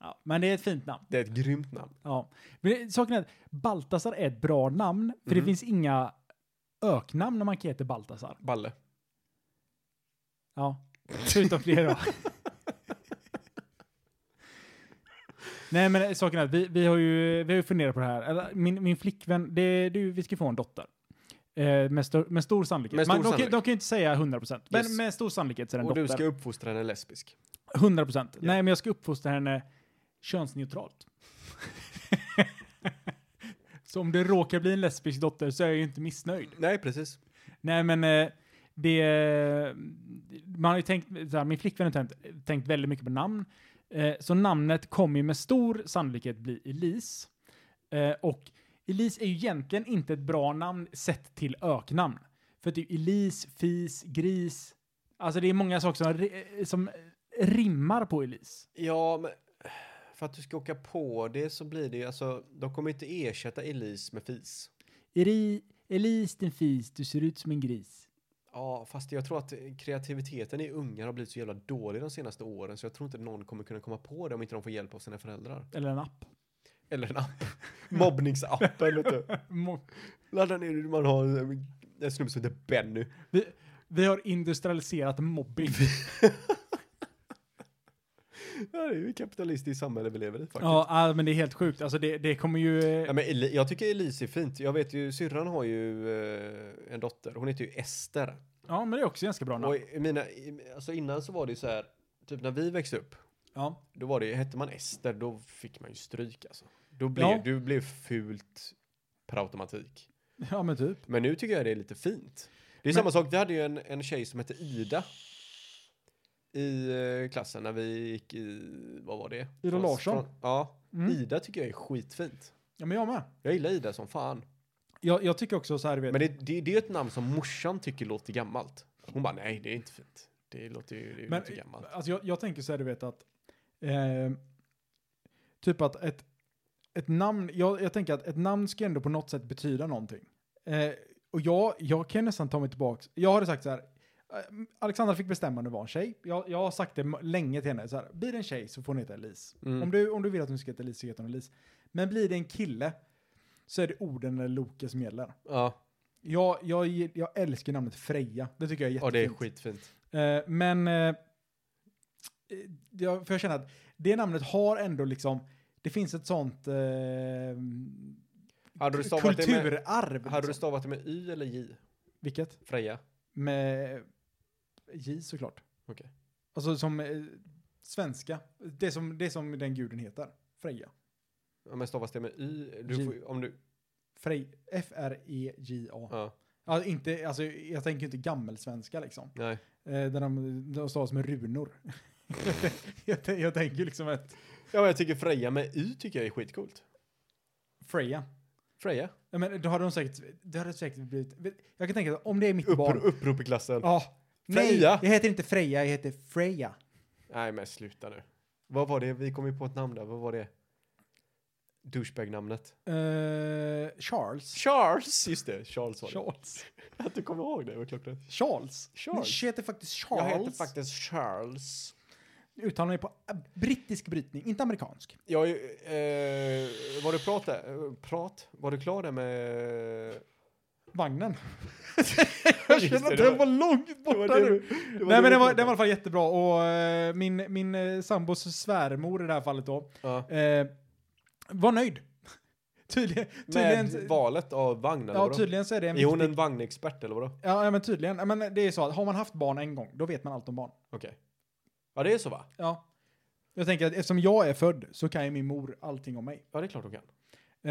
Ja, men det är ett fint namn.
Det är ett grymt namn.
Ja. Men det- saken är att Baltasar är ett bra namn, för det
Mm.
finns inga öknamn när man heter Baltasar.
Balle.
Ja, förutom det då. Nej men saken är att vi, vi har ju vi har ju funderat på det här. Eller, min, min flickvän, det, du, vi ska få en dotter. Eh, med, stor, med stor sannolikhet.
Med stor
Man, de, kan,
sannolikhet.
de kan ju inte säga 100%, men
Yes.
med stor sannolikhet så är det en
Och du
dotter.
ska uppfostra henne lesbisk.
100%. Nej men jag ska uppfostra henne könsneutralt. så om det råkar bli en lesbisk dotter så är jag ju inte missnöjd.
Nej, precis.
Nej, men eh, det... eh, Man har ju tänkt, så här, min flickvän har tänkt, tänkt väldigt mycket på namn. Eh, så namnet kommer ju med stor sannolikhet bli Elise. Eh, och Elise är ju egentligen inte ett bra namn sett till öknamn. För att det är ju Elise, fis, gris. Alltså det är många saker som, ri- som rimmar på Elise.
Ja, men för att du ska åka på det så blir det ju alltså, de kommer inte ersätta Elise med fis.
Eri, Elise din fis, du ser ut som en gris.
Ja, fast jag tror att kreativiteten i ungar har blivit så jävla dålig de senaste åren så jag tror inte någon kommer kunna komma på det om inte de får hjälp av sina föräldrar.
Eller en app.
Eller en app. Mobbningsappen, vet du.
Må-
Ladda ner det, man har en, en snubbe som heter Benny.
Vi, vi har industrialiserat mobbing.
Ja, det är ju ett kapitalistiskt samhälle vi lever i faktiskt.
Ja, ja, men det är helt sjukt. Alltså det, det kommer ju... eh,
Ja, men Eli- jag tycker Elise är fint. Jag vet ju, syrran har ju eh, en dotter. Hon heter ju Ester.
Ja, men det är också ganska bra
Och
namn.
i mina, i, alltså innan så var det ju så här, typ när vi växte upp,
Ja.
då var det ju, hette man Ester, då fick man ju stryk alltså. Då blev,
Ja.
Du blev fult per automatik.
ja, men typ.
Men nu tycker jag det är lite fint. Det
Men-
är samma sak, vi hade ju en, en tjej som hette Ida i eh, klassen när vi gick i, vad var det?
Ida
Från-
Larsson.
Från, ja,
Mm.
Ida tycker jag är skitfint.
Ja, men jag med.
Jag gillar Ida som fan.
Jag, jag tycker också så här, du vet.
Men det, det, det är ett namn som morsan tycker låter gammalt. Hon bara, nej det är inte fint. Det låter ju det
Men-
låter gammalt.
Alltså jag, jag tänker så här, du vet att... Eh, typ att ett, ett namn... Jag, jag tänker att ett namn ska ändå på något sätt betyda någonting. Eh, och jag, jag kan nästan ta mig tillbaka. Jag hade sagt så här. eh, Alexandra fick bestämma om det var en tjej. Jag, jag har sagt det m- länge till henne. Så här, blir det en tjej så får hon heta Elise.
Mm.
Om, du, om du vill att hon ska heta Elise så heter hon Elise. Men blir det en kille så är det orden eller Loke som gäller.
Ja,
Jag, jag, jag älskar namnet Freja. Det tycker jag är
ja,
jättefint.
det är skitfint.
Eh, men eh, eh, jag, för jag känner att det namnet har ändå liksom, det finns ett sånt eh,
Hade du stavat det med,
kulturarv.
hade du
liksom.
stavat det med Y eller J?
Vilket?
Freja?
Med J såklart.
Okej.
Alltså som eh, svenska. Det som, det som den guden heter. Freja.
Ja, men stavas det med y? Du
J.
får, om du,
Frej, E F-R-E-J-A.
ja,
Alltså, inte, alltså, jag tänker inte gammelsvenska liksom.
nej.
Eh, där de, de stavas med runor. jag, tän- jag tänker liksom ett
Ja, men jag tycker Freja med y tycker jag är skitcoolt.
Freja.
Freja.
Ja, men då hade de säkert, det hade säkert blivit, jag kan tänka att om det är mitt barn.
Upprop, upprop i klassen.
Ja. Nej,
Freja.
jag heter inte Freja, jag heter Freja.
Nej, men sluta nu. Vad var det? Vi kom ju på ett namn där. Vad var det? Douchebag-namnet.
Eh, Charles.
Charles! Just det, Charles var det.
Charles.
Att du kommer ihåg det var klockrent.
Charles.
Charles.
Min tjej heter faktiskt Charles.
Jag heter faktiskt Charles.
Uttalar mig på eh, brittisk brytning, inte amerikansk.
Jag, är ju- eh, var du prat där? Eh, Prat? Var du klar där med...
Vagnen.
Jag
långt Nej men den var, den var i alla fall jättebra och eh, min, min eh, sambos svärmor i det här fallet då
Ja.
eh, var nöjd. Tydligen, tydligen,
Med valet av vagn eller
ja,
vadå?
tydligen så är det en
Är hon
viktig-
en vagnexpert eller vadå? Okej.
Ja, ja, men tydligen. Ja, Men det är så att har man haft barn en gång, då vet man allt om barn.
Ja, det är så va?
Ja. Jag tänker att eftersom jag är född så kan ju min mor allting om mig.
Ja, det är klart hon kan.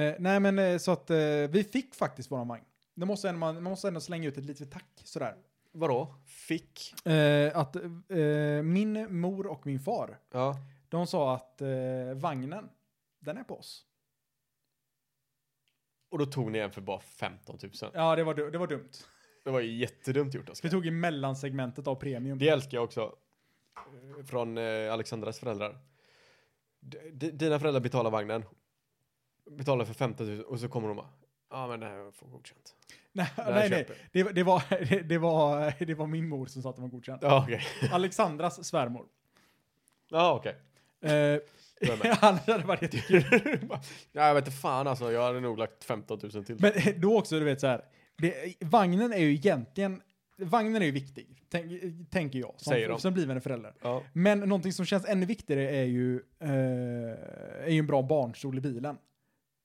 Eh, nej, men eh, så att eh, vi fick faktiskt våran vagn. Det måste ändå, man, man måste ändå slänga ut ett litet tack sådär.
Vadå? Fick?
Eh, att eh, min mor och min far,
Ja.
de sa att eh, vagnen, den är på oss.
Och då tog ni en för bara 15 000.
Ja, det var, du- det var dumt.
Det var ju jättedumt gjort
Vi
Oskar.
tog i mellansegmentet av premium.
Det älskar jag också. eh, Från eh, Alexandras föräldrar. D- d- dina föräldrar betalar vagnen. Betalar för 15 000 och så kommer de bara. Ja men det här får godkänt.
nej,
Det här
nej, nej.
köper jag."
Det, det, var, det, det, var, det var min mor som sa att den var godkänd.
Ja okej.
Alexandras svärmor.
Ja okej.
Eh,
Då är jag med.
annars hade det varit jättekul.
Ja jag vet inte fan alltså. Jag hade nog lagt 15 000 till.
Men eh, då också, du vet så här. Det, vagnen är ju egentligen, vagnen är ju viktig, tänk, tänker jag, som,
Säger de.
som blivande förälder.
Ja.
Men någonting som känns ännu viktigare är ju, eh, är ju en bra barnstol i bilen.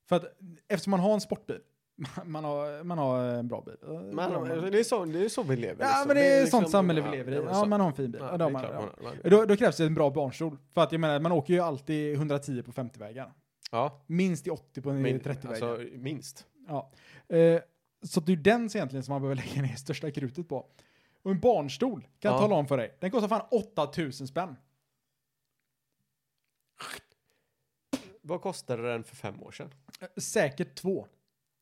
För att eftersom man har en sportbil, man har, man har en bra bil. Eh,
Men
bra man-
det är så, det är så vi lever.
Ja,
liksom.
men det är,
liksom-
sånt samhälle vi lever i.
det är
Ja,
så.
man har en fin bil.
Ja,
Ja, det
det
har
är
man,
klart
ja.
man har.
Då, då krävs det en bra barnstol. För att jag menar, man åker ju alltid 110 på 50-vägar.
Ja,
Minst i 80 på en
min,
30-vägar.
alltså minst.
Ja.
alltså-
Eh, så att det är den som egentligen som man behöver lägga ner största krutet på. Och en barnstol kan jag
Ja.
tala om för dig. Den kostar fan 8000 spänn.
Vad kostade den för fem år sedan?
Eh, Säkert två.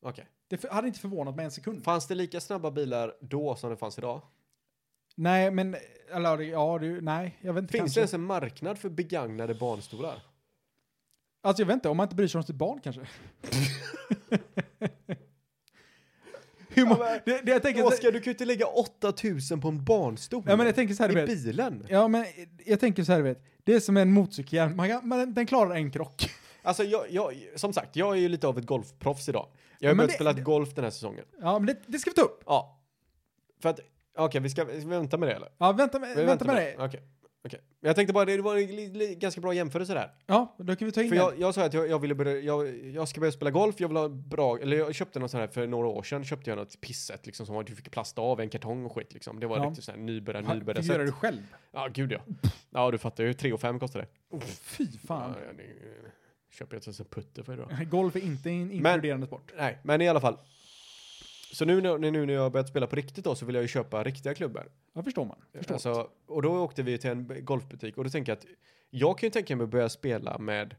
Okej.
Det för, hade inte förvånat mig en sekund.
Fanns det lika snabba bilar då som det fanns idag?
Nej, men... Eller ja, du, nej. Jag vet inte.
Finns
kanske.
det ens en marknad för begagnade barnstolar?
Alltså jag vet inte, om man inte bryr sig om sitt barn kanske. Hur
Ja,
man,
men-
det, det, jag tänker så-
Oskar, du kan ju inte lägga 8000 på en barnstol.
Ja, men jag tänker så här, du
I
vet.
bilen?
Ja, men jag tänker så här, du vet. Det är som en motorcykelhjälm. Man kan, men den klarar en krock.
Alltså, jag, jag, som sagt, jag är ju lite av ett golfproffs idag. Jag har
Men
börjat
det-
spela
det-
golf den här säsongen.
Ja, men det, det ska vi ta upp.
Ja. För att, okej, vi ska, ska vi vänta med det eller?
Ja, vänta, med-
Vi
vänta med
det.
det.
Okej. okej. Men Jag tänkte bara, det var en li- li- ganska bra jämförelse där.
Ja, då kan vi ta in
För
den.
jag, jag sa att jag, jag ville börja, jag, jag ska börja spela golf, jag vill ha bra, eller jag köpte någon sån här för några år sedan, köpte jag något pisset liksom som var- du fick plasta av en kartong och skit liksom. Det var
Ja.
riktigt sån här nybörjar,
Fan,
nybörjar
Fick du göra det själv?
Ja, gud ja. Ja, du fattar ju, 3 och 5 kostar det.
Fy fan.
Ja, ja, det eh, köper jag till en sån putter för idag.
Golf är inte en inkluderande sport.
Nej, men i alla fall. Så nu, när- nu när jag har börjat spela på riktigt då så vill jag ju köpa riktiga klubbor.
Ja, förstår man. Förstår.
Alltså, och då åkte vi till en b- golfbutik och då tänker jag att jag kan ju tänka mig att börja spela med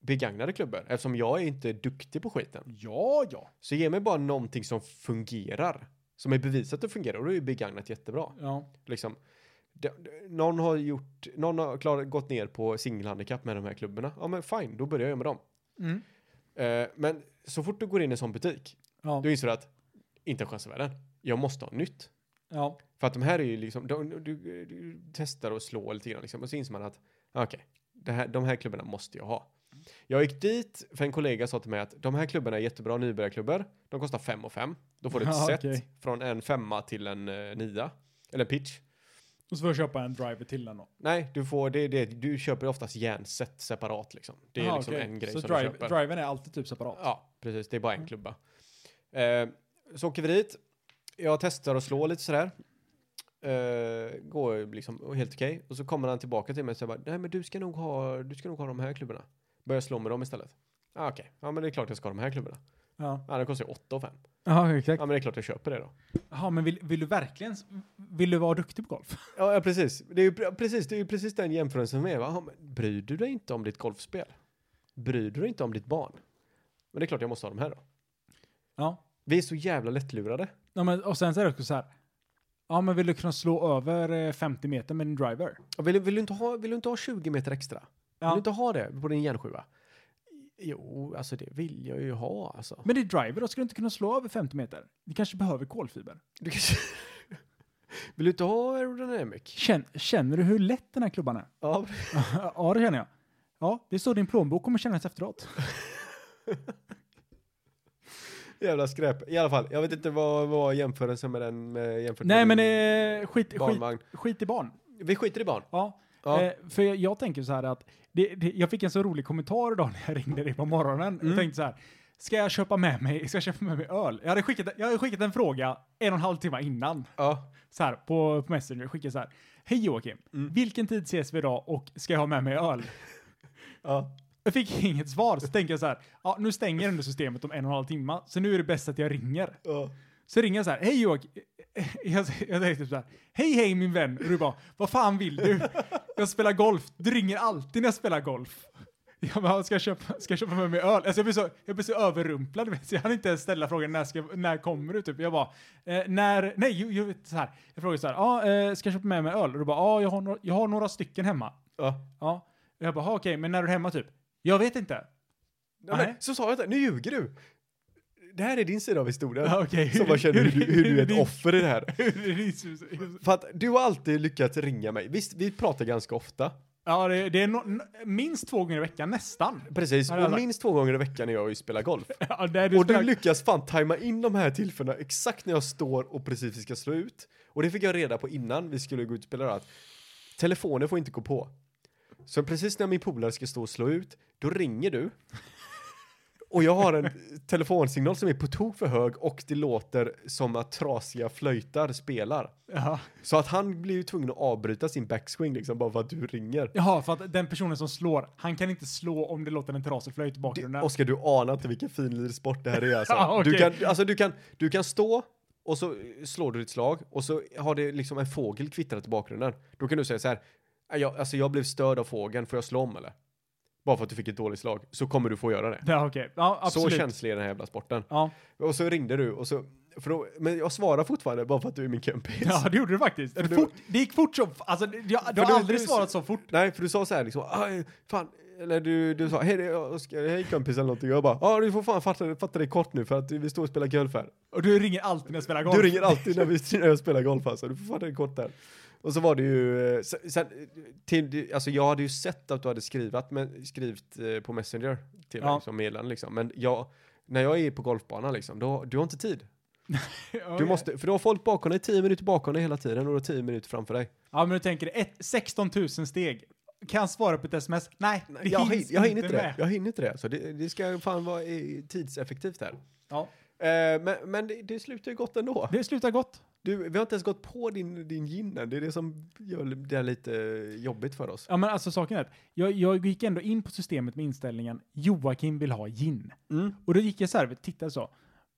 begagnade klubbor eftersom jag är inte duktig på skiten.
Ja, ja.
Så ge mig bara någonting som fungerar. Som är bevisat att det fungerar och då är ju begagnat jättebra.
Ja,
Liksom, det- det- någon har gjort, någon har klarat, gått ner på singelhandikapp med de här klubborna. Ja men fine, då börjar jag med dem.
mm.
Eh, men så fort du går in i en sån butik,
ja.
då inser du att inte en chans i världen. Jag måste ha nytt.
ja.
För att de här är ju liksom, de, du, du, du testar och slår lite grann liksom, och så inser man att ah, okej, det här, de här klubborna måste jag ha. Jag gick dit för en kollega sa till mig att de här klubborna är jättebra nybörjarklubbor. De kostar 5 och 5. Då får du ett
Ja,
set
okej.
från en femma till en eh, nia. Eller pitch.
Och så får jag köpa en driver till den då.
Nej, du får det, det du köper oftast järnset separat liksom. Det är
Ja,
liksom
okej.
en grej
så
som
drive,
du köper.
driven är alltid typ separat.
Ja, precis. Det är bara en klubba. Eh, så åker vi dit. jag testar att slå lite sådär. Uh, går ju liksom helt okej. Och så kommer han tillbaka till mig och säger bara, nej men du ska nog ha, du ska nog ha de här klubborna. Börjar slå med dem istället. Ah, Okej, ja men det är klart jag ska ha de här klubborna.
Ja,
Ja, de kostar ju 8 5.
ja
Ja
exakt.
men det är klart jag köper det då.
Jaha, men vill, vill du verkligen, vill du vara duktig på golf?
Ja, ja precis. Det är ju pre- precis, det är ju precis den jämförelsen med. Va? Ja, men Bryr du dig inte om ditt golfspel? Bryr du dig inte om ditt barn? Men det är klart jag måste ha de här då.
Ja.
Vi är så jävla lättlurade.
ja men, och sen så är det också så här. Ja, men vill du kunna slå över eh, 50 meter med en driver?
Ja, Vill, vill, du inte ha, vill du inte ha 20 meter extra? Vill
Ja.
du inte ha det på din järnsjua? Jo, alltså det vill jag ju ha alltså.
Men det är driver då, ska du inte kunna slå över 50 meter? Vi kanske behöver kolfiber.
Du kanske... vill du inte ha aerodynamic?
Känn, känner du hur lätt den här klubban är?
Ja,
ja, det känner jag. Ja, det är så din plånbok kommer kännas efteråt.
jävla skräp. I alla fall, jag vet inte vad, vad jämförelsen med den med jämfört
Nej, men
med din
eh, skit, skit,
barnvagn.
skit i barn.
Vi skiter i barn.
Ja.
Ja.
Eh, för jag, jag tänker så här att, det, det, jag fick en så rolig kommentar idag när jag ringde dig på morgonen. Jag tänkte så här, ska jag köpa med mig, ska jag köpa med mig öl? Jag hade skickat, jag hade skickat en fråga en och en halv timme innan.
Ja.
Så här, på, på Messenger, skickade så här, hej Joakim, vilken tid ses vi idag och ska jag ha med mig öl?
ja.
Jag fick inget svar, så tänkte jag så här, ja, nu stänger ändå systemet om en och en halv timme, så nu är det bäst att jag ringer.
ja.
Så ringer jag så här, hej Joakim. Jag, jag säger typ så här, hej hej min vän. Och du bara, vad fan vill du? Jag spelar golf. Du ringer alltid när jag spelar golf. Jag bara, ska jag köpa, ska jag köpa med mig öl? Alltså jag blir så, jag blir så överrumplad. vet du. Så jag hann inte ens ställa frågan, när, ska, när kommer du? Typ. Jag bara, eh, när, nej, ju- ju- så här. Jag frågade så här, ah, eh, ska jag köpa med mig öl? Och du bara, ja, ah, jag, har några- jag har några stycken hemma.
ja.
Ja. Jag bara, ah, okej, men när är du hemma typ? Jag vet inte.
Ja,
Nej.
men, så sa jag inte, nu ljuger du. Det här är din sida av historien.
Ja, okej.
Som bara känner hur, du- hur du är ett
Hur-
offer i det här.
ja,
För att du har alltid lyckats ringa mig. Visst, vi pratar ganska ofta.
det, det är no, minst två gånger i veckan, nästan.
Precis,
Ja, det har
och
jag
minst två gånger i veckan är jag och spelar golf.
Ja, där du
Och du
spelar-
lyckas fan tajma in de här tillfällena exakt när jag står och precis ska slå ut. Och det fick jag reda på innan vi skulle gå ut och spela att telefonen får inte gå på. Så precis när min polare ska stå och slå ut, då ringer du. Och jag har en telefonsignal som är på tok för hög och det låter som att trasiga flöjtar spelar.
ja.
Så att han blir ju tvungen att avbryta sin backswing liksom bara för att du ringer.
Jaha, för att den personen som slår, han kan inte slå om det låter en trasig flöjt i
Du,
bakgrunden.
Oskar, du anar inte vilken fin sport det här är alltså.
Ja,
du,
okej.
kan, alltså du, kan, du kan stå och så slår du ett slag och så har det liksom en fågel kvittrat i bakgrunden. Då kan du säga så här, "Nej, jag, alltså jag blev störd av fågeln, får jag slå om eller? Bara för att du fick ett dåligt slag, så kommer du få göra det.
Ja, okej. Ja, absolut.
Så känslig är den här jävla sporten.
ja.
Och så ringde du och så, för då, men jag svarar fortfarande bara för att du är min kompis.
ja, det gjorde du faktiskt.
du-
Fort, det gick fort som... Alltså, det- jag, du
du-
har aldrig
du-
svarat så fort.
Nej, för du sa så här liksom, "Aj, fan, eller du, du sa, hej, det är Oskar, hej kompis eller någonting. Jag bara, ja du får fan fatta, fatta dig kort nu för att vi står och spelar golf här.
Och du ringer alltid när jag spelar golf.
Du ringer alltid när vi när jag spelar golf alltså, du får fatta dig kort där. Och så var det ju, eh, se- sen, eh, till, alltså jag hade ju sett att du hade skrivit, men, skrivit eh, på Messenger till mig
Ja.
som meddelande liksom. Men jag, när jag är på golfbanan liksom, då, du har inte tid.
Ja,
Du
okej.
måste, för du har folk bakom dig, 10 minuter bakom dig hela tiden och du har 10 minuter framför dig.
Ja, men du tänker ett, 16 000 steg. Kan jag svara på ett sms? Nej, det
jag,
hinns
hin- jag hinner
inte
inte det,
med.
jag hinner inte det. Så det, det ska fan vara eh, tidseffektivt här.
Ja.
Eh, men men det, det slutar ju gott ändå.
Det slutar gott.
Du, vi har inte ens gått på din, din gin än. Det är det som gör det här lite jobbigt för oss.
Ja, men alltså saken är att jag, jag gick ändå in på systemet med inställningen Joakim vill ha gin. Och då gick jag så här, tittade så.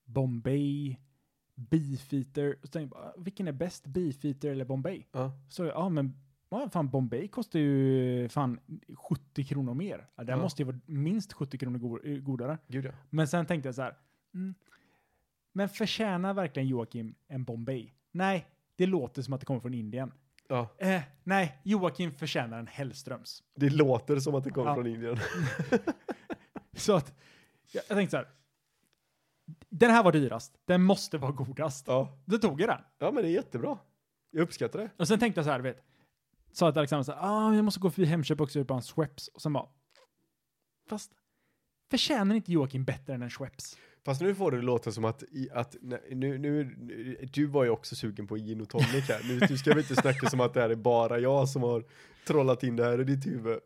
Bombay, Beefeater. Och så tänkte jag bara, vilken är bäst? Beefeater eller Bombay?
Ja.
Så ja, men ja, fan Bombay kostar ju fan 70 kronor mer. Ja, den
Ja.
måste ju vara minst 70 kronor go- eh, godare.
Gud ja.
Men sen tänkte jag så här. Mm, men förtjänar verkligen Joakim en Bombay? Nej, det låter som att det kommer från Indien.
ja.
Eh, nej, Joakim förtjänar en Hellströms.
Det låter som att det kommer
Ja.
från Indien.
Så att jag, jag tänkte så här. Den här var dyrast. Den måste vara godast.
Ja.
Då tog jag den.
ja, men det är jättebra. Jag uppskattar det.
Och sen tänkte jag så här, vet. Sa till Alexander så här, ah, jag måste gå förbi Hemköp också och köpa en Schweppes. Och sen bara, fast förtjänar inte Joakim bättre än en Schweppes?
Fast nu får det låta som att, i, att nej, nu, nu, nu, du var ju också sugen på gin och tonic här. Nu, nu ska vi inte snacka som att det här är bara jag som har trollat in det här i ditt huvud.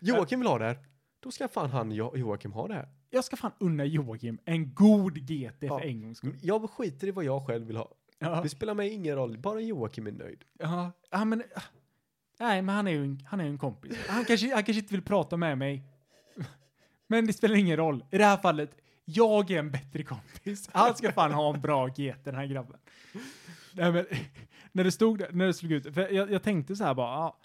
Joakim vill ha det här. Då ska fan han, Jo- Joakim, ha det här.
jag ska fan unna Joakim en god GT för
Ja.
en gångs skull.
Jag skiter i vad jag själv vill ha.
Ja.
Det spelar mig ingen roll, bara Joakim är nöjd.
Ja, ja men... ah. Nej, men han är ju en, han är ju en kompis. Han kanske, han kanske inte vill prata med mig. Men det spelar ingen roll. I det här fallet, jag är en bättre kompis. Han ska fan ha en bra get, den här grabben. Nej, men, när det stod där- när det slog ut, för jag, jag tänkte så här bara, ja.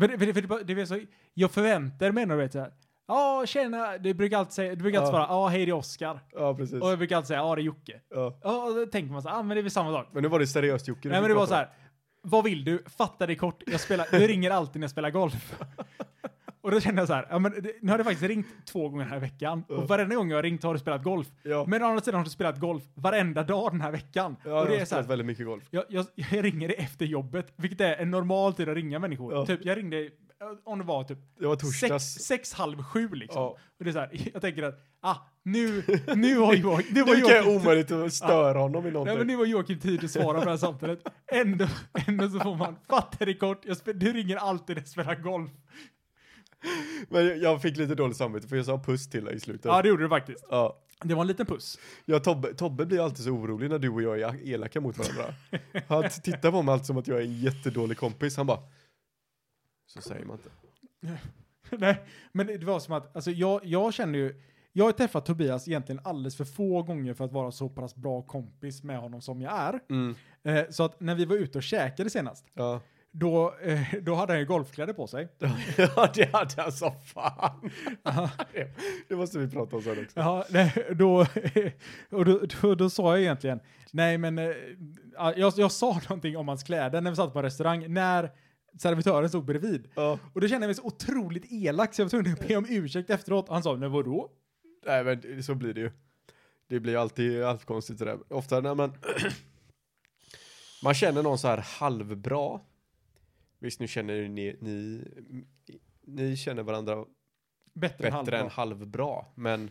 För, det- för, det- för, det bara- det var så, jag förväntar mig nog, vet så här. Ja, tjena, du brukar alltid säga, du brukar alltid
Ja.
svara, ja, hej, det är Oskar.
Ja, precis.
Och jag brukar alltid säga, ja, det är Jocke.
Ja.
Ja, och då tänker man så här, ja, men det är väl samma sak.
Men nu var det seriöst Jocke. du
Nej men
fick
det var
prata
så här. Vad vill du? Fatta dig kort. Jag spelar, du ringer alltid när jag spelar golf. och då kände jag så här, ja, men det, nu har det faktiskt ringt två gånger den här veckan. Och varenda gång jag har ringt har du spelat golf.
Ja.
Men å andra sidan har du spelat golf varenda dag den här veckan.
om. Ja,
och det är
jag
så
har
här,
väldigt mycket golf.
jag, jag, jag ringer dig efter jobbet, vilket är en normal tid att ringa människor.
Ja.
Typ, jag ringde, eh, om det var typ
Det var
sex,
torsdags.
sex halv sju liksom.
Ja.
Och det är så här, jag tänker att, ah, nu, nu har jag, nu har
Det kan
jag
jag omöjligt att störa honom i
Nej men
någonting.
nu var Joakim tid att svara på det här samtalet. Ändå, ändå så får man fatta det kort. Jag spel, du ringer alltid när jag spelar golf.
Men jag- jag fick lite dåligt samvete för jag sa puss till dig i slutet.
Ja det gjorde du faktiskt.
Ja.
Det var en liten puss.
Ja, Tobbe, Tobbe blir alltid så orolig när du och jag är elaka mot varandra. Han t- tittar på mig alltid som att jag är en jättedålig kompis. Han bara... Så säger man inte.
Nej men det var som att, alltså jag, jag känner ju, jag har träffat Tobias egentligen alldeles för få gånger för att vara så pass bra kompis med honom som jag är. Eh, så att när vi var ute och käkade senast,
Ja.
då, eh, då hade han ju golfkläder på sig.
ja, det hade jag så fan. Det- det måste vi prata om sen också.
Ja, nej, då, och då, då, då sa jag egentligen, nej men, eh, ja, jag, jag sa någonting om hans kläder när vi satt på en restaurang, när servitören stod bredvid.
Ja.
Och då kände jag mig så otroligt elak så jag var tvungen att be om ursäkt efteråt. Och han sa, men vadå?
Nej, men det- så blir det ju. Det blir alltid allt konstigt det där. Ofta när man... man känner någon så här halvbra. Visst, nu känner ju ni... Ni, ni känner varandra
Bättre, än
bättre
halvbra.
än halvbra. Men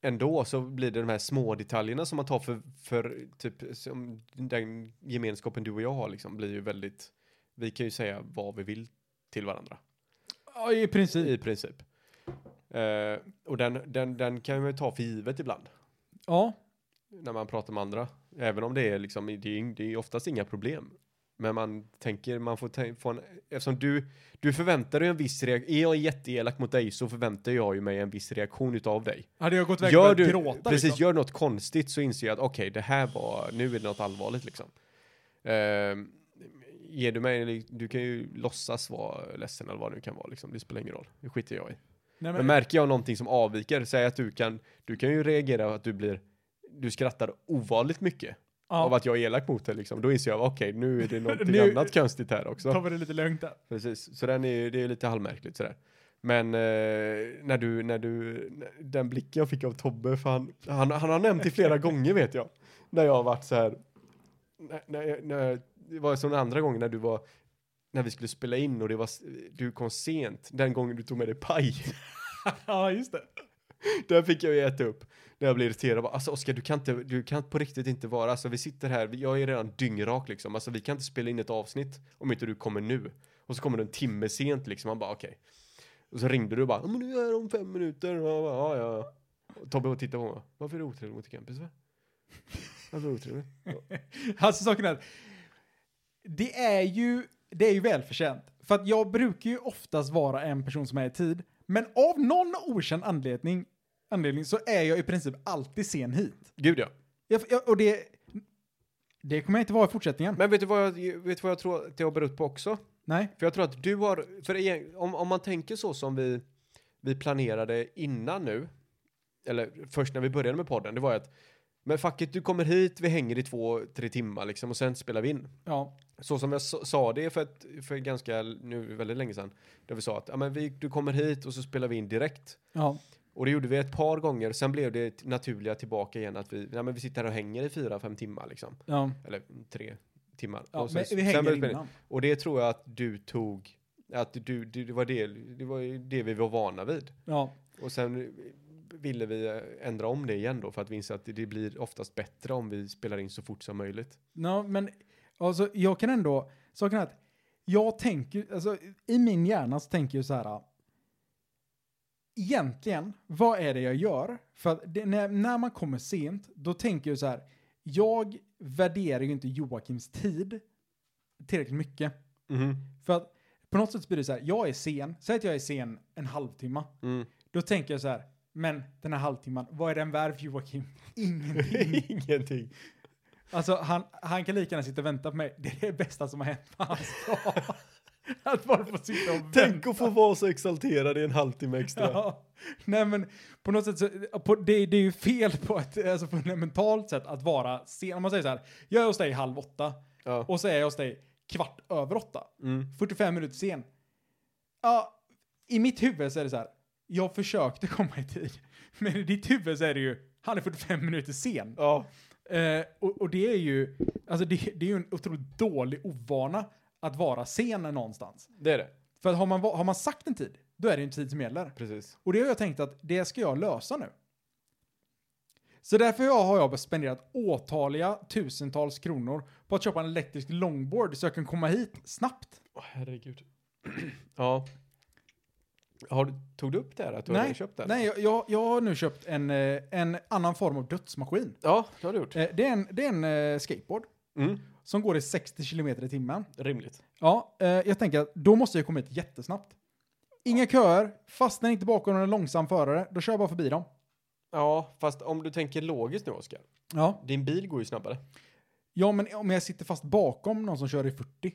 ändå så blir det de här små detaljerna som man tar för, för typ som den gemenskapen du och jag har liksom blir ju väldigt, vi kan ju säga vad vi vill till varandra
Ja, i
i
princip.
princip. Eh, och den, den, den kan man ju ta för givet ibland
Ja,
när man pratar med andra. Även om det är liksom, det är, ing- det är oftast inga problem. Men man tänker, man får tän- få en, eftersom du, du förväntar dig en viss reaktion, är jag jätteelak mot dig så förväntar jag ju mig en viss reaktion utav dig.
hade jag gått iväg och
Gör
börjat
du,
gråta
precis,
liksom.
gör något konstigt så inser jag att okej, det här var, nu är det något allvarligt liksom. Ehm, ger du mig, du kan ju låtsas vara ledsen eller vad det nu kan vara liksom, det spelar ingen roll, det skiter jag i.
Nej,
Men
men,
märker jag någonting som avviker, säg att du kan, du kan ju reagera på att du blir, du skrattar ovanligt mycket av
ja,
att jag är elak mot dig liksom. Då inser jag, okej, nu är det någonting
Nu-
annat konstigt här också.
tar vi det lite lugnt där.
Precis, så den är ju, det är ju lite halvmärkligt sådär. Men eh, när du, när du, den blicken jag fick av Tobbe, för han, han, han har nämnt det flera gånger vet jag. När jag har varit så här, när, när, jag- när, jag- det var som den andra gången när du var, när vi skulle spela in och det var, s- du kom sent, den gången du tog med dig paj.
ja, just det.
Där fick jag ju äta upp. När jag blev irriterad. Bara, Alltså Oskar, du kan inte, du kan på riktigt inte vara, alltså vi sitter här, vi- jag är redan dyngrak liksom. Alltså vi kan inte spela in ett avsnitt om inte du kommer nu. Och så kommer du en timme sent liksom. Man bara okej. Och så ringde du och bara, ja men nu är jag här om fem minuter. Och jag bara, ja ja. ja. Och Tobbe och tittade på mig. Varför är du otrevlig mot din kompis va? Varför är du otrevlig?
Alltså saken är att det är ju, det är ju välförtjänt. För att jag brukar ju oftast vara en person som är i tid. Men av någon okänd anledning, anledning så är jag i princip alltid sen hit.
Gud ja.
Jag, jag, och det, det kommer jag inte vara i fortsättningen.
Men vet du vad jag, vet du vad jag tror att det har berott på också?
Nej.
För jag tror att du har, för egen- om, om man tänker så som vi, vi planerade innan nu, eller först när vi började med podden, det var ju att, men facket du kommer hit, vi hänger i två, tre timmar liksom och sen spelar vi in.
Ja.
Så som jag s- sa det för, ett, för ganska, nu väldigt länge sedan, där vi sa att ja, men vi, du kommer hit och så spelar vi in direkt.
Ja.
Och det gjorde vi ett par gånger, sen blev det t- naturliga tillbaka igen att vi, ja, men vi sitter här och hänger i fyra, fem timmar liksom.
Ja.
Eller tre timmar.
ja
och sen,
men vi
sen
hänger
började vi spela in.
innan.
Och det tror jag att du tog, att du, du det, var det, det var ju det vi var vana vid.
Ja.
Och sen ville vi eh, ändra om det igen då för att vi inser att det blir oftast bättre om vi spelar in så fort som möjligt.
No, men alltså, jag kan ändå, saken är att jag tänker, alltså, i min hjärna så tänker jag så här, egentligen, vad är det jag gör? För att det, när, när man kommer sent, då tänker jag så här, jag värderar ju inte Joakims tid tillräckligt mycket.
Mhm.
För att på något sätt blir det så här, jag är sen, säg att jag är sen en halvtimme.
Mm.
Då tänker jag så här, men den här halvtimman, vad är den värd för Joakim? Ingenting.
Ingenting.
Alltså han, han kan lika gärna sitta och vänta på mig. Det är det bästa som har hänt på hans dag. Att bara få sitta och
Tänk
vänta.
att få vara så exalterad i en halvtimme extra.
Ja. Nej men på något sätt så, på, det, det är ju fel på ett alltså, fundamentalt sätt att vara sen. Om man säger så här, jag är hos dig halv åtta
Ja.
och så är jag hos dig kvart över åtta.
Mm.
45 minuter sen. Ja, i mitt huvud så är det så här, jag försökte komma i tid. Men i ditt huvud så är det ju, han är 45 minuter sen.
Ja.
Eh, och, och det är ju, alltså det, det är ju en otroligt dålig ovana att vara sen någonstans.
Det är det.
För att har man, va- har man sagt en tid, då är det ju en tid som gäller.
Precis.
Och det har jag tänkt att det ska jag lösa nu. Så därför jag- har jag spenderat åtaliga tusentals kronor på att köpa en elektrisk longboard så jag kan komma hit snabbt.
Åh, herregud. ja. Har du, tog du upp det här? Att du hade
nej,
köpt det?
nej jag, jag, jag har nu köpt en, eh, en annan form av dödsmaskin.
Ja, det har du gjort.
Eh, det är en, det är en eh, skateboard
Mm.
som går i 60 kilometer i timmen.
Rimligt.
Ja, eh, jag tänker att då måste jag komma hit jättesnabbt. Inga köer, fastnar inte bakom en långsam förare, då kör jag bara förbi dem.
Ja, fast om du tänker logiskt nu, Oskar.
Ja.
Din bil går ju snabbare.
Ja, men om jag sitter fast bakom någon som kör i 40,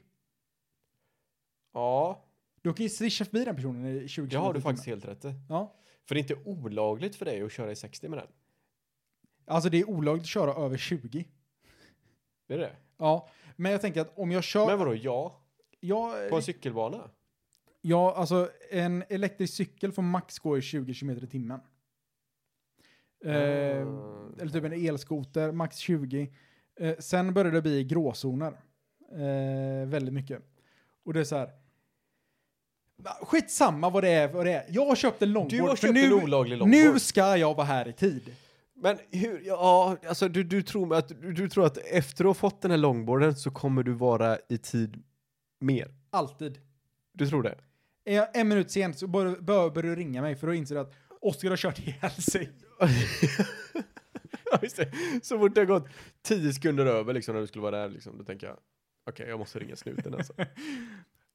Ja,
då kan ju swisha förbi den personen i 20
det har
kilometer
du
i
faktiskt
timmen.
helt rätt i.
Ja.
För det är inte olagligt för dig att köra i 60 med den.
Alltså det är olagligt att köra över 20.
Det är det.
Ja, men jag tänker att om jag kör...
Men vadå, ja?
jag,
På en cykelbana?
Ja, alltså en elektrisk cykel får max gå i 20 km i timmen. Eh,
Mm.
Eller typ en elskoter, max 20. Eh, sen börjar det bli gråzoner. Eh, väldigt mycket. Och det är så här. Va, Skitsamma vad det är, vad det är. Jag har köpt en longboard.
Du har
för
köpt
nu,
en olaglig longboard.
Nu ska jag vara här i tid.
Men hur, ja, alltså du, du, tror att, du, du tror att efter du har fått den här långborren så kommer du vara i tid mer?
Alltid.
Du tror det?
Är jag en minut sen så bör, bör, bör du ringa mig för då inser du att Oskar har kört ihjäl sig.
Ja, just det. Så fort det har gått tio sekunder över liksom när du skulle vara där liksom, då tänker jag okej, jag måste ringa snuten alltså.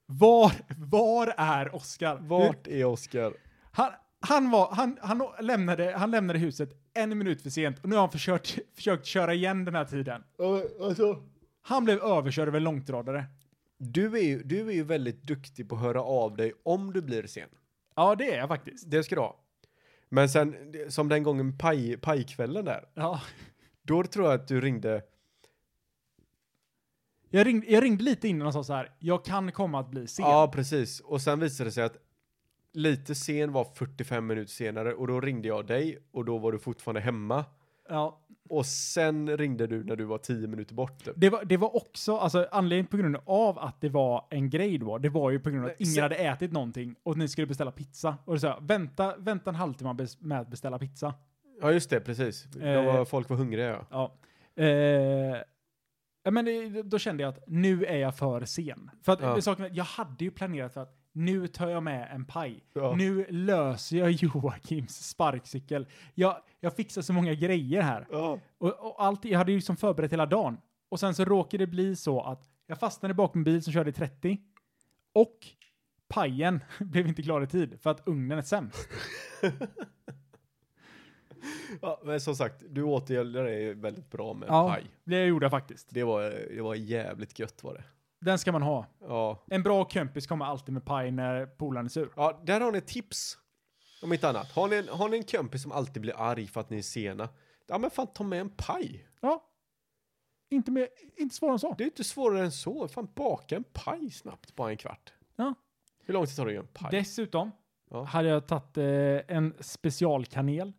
Var, var är Oskar?
Vart är Oskar?
Han, han, var, han, han, lämnade, han lämnade huset en minut för sent och nu har han försökt, försökt köra igen den här tiden. Han blev överkörd av en långtradare.
Du är, ju, du är ju väldigt duktig på att höra av dig om du blir sen.
Ja, det är jag faktiskt.
Det ska du ha. Men sen, som den gången paj, pajkvällen där,
Ja.
då tror jag att du ringde
Jag, ringde, jag ringde lite innan och sa så här, jag kan komma att bli sen.
Ja, precis. Och sen visade det sig att lite sen var 45 minuter senare och då ringde jag dig och då var du fortfarande hemma.
Ja.
Och sen ringde du när du var 10 minuter bort. typ.
Det, var, det var också, alltså anledningen på grund av att det var en grej då, det var ju på grund av att
Nej,
ingen
se-
hade ätit någonting och ni skulle beställa pizza. Och då sa jag, vänta, vänta en halvtimme bes- med att beställa pizza.
Ja, just det, precis. De var, folk var hungriga, ja.
Ja. Eh, ja, men det, då kände jag att nu är jag för sen. För att
Ja.
saken, är att jag hade ju planerat för att nu tar jag med en paj.
Ja.
Nu löser jag Joakims sparkcykel. Jag, jag fixar så många grejer här.
Ja,
Och, och allt, jag hade ju liksom förberett hela dagen. Och sen så råkade det bli så att jag fastnade bakom en bil som körde i 30. Och pajen blev inte klar i tid för att ugnen är sämst.
men som sagt, du återgäldade det väldigt bra med
Ja,
paj.
det gjorde jag faktiskt.
Det var, det var jävligt gött var det.
Den ska man ha.
Ja.
En bra kompis kommer alltid med paj när polaren är sur.
ja, där har ni ett tips. Om inte annat. Har ni, en, har ni en kompis som alltid blir arg för att ni är sena? Ja, men fan ta med en paj.
Ja. Inte, mer, inte svårare än så.
Det är inte svårare än så. Fan, baka en paj snabbt, bara en kvart.
Ja.
Hur lång tid tar det att göra en paj?
Dessutom
Ja.
hade jag tagit eh, en specialkanel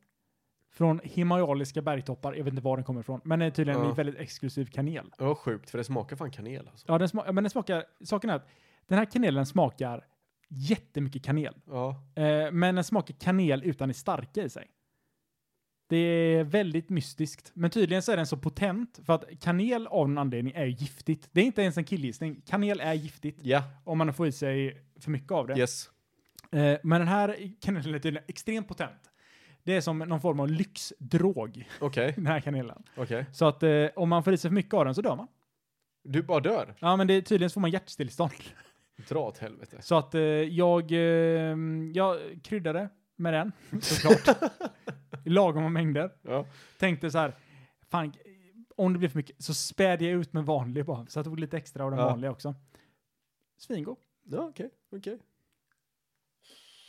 från himalayaliska bergtoppar. Jag vet inte var den kommer ifrån, men det är tydligen
Ja.
en väldigt exklusiv kanel.
Det var sjukt, för det smakar fan kanel alltså.
Ja, den sma- men den smakar, saken är att den här kanelen smakar jättemycket kanel,
Ja.
eh, men den smakar kanel utan det starka i sig. Det är väldigt mystiskt, men tydligen så är den så potent för att kanel av någon anledning är ju giftigt. Det är inte ens en killgissning. Kanel är giftigt.
Ja,
om man får i sig för mycket av det.
yes.
Eh, men den här kanelen är tydligen extremt potent. Det är som någon form av lyxdrog,
Okej,
den här kanelen.
okej.
Så att eh, om man får i sig för mycket av den så dör man.
Du bara dör.
Ja, men det, tydligen så får man hjärtstillestånd.
Dra åt helvete.
Så att eh, jag, eh, jag kryddade med den, såklart. I lagom mängder.
Ja.
Tänkte så här, fan, om det blir för mycket så spädde jag ut med vanlig bara. Så jag tog lite extra av den
Ja.
vanliga också. Svingod.
Ja, okej, okej.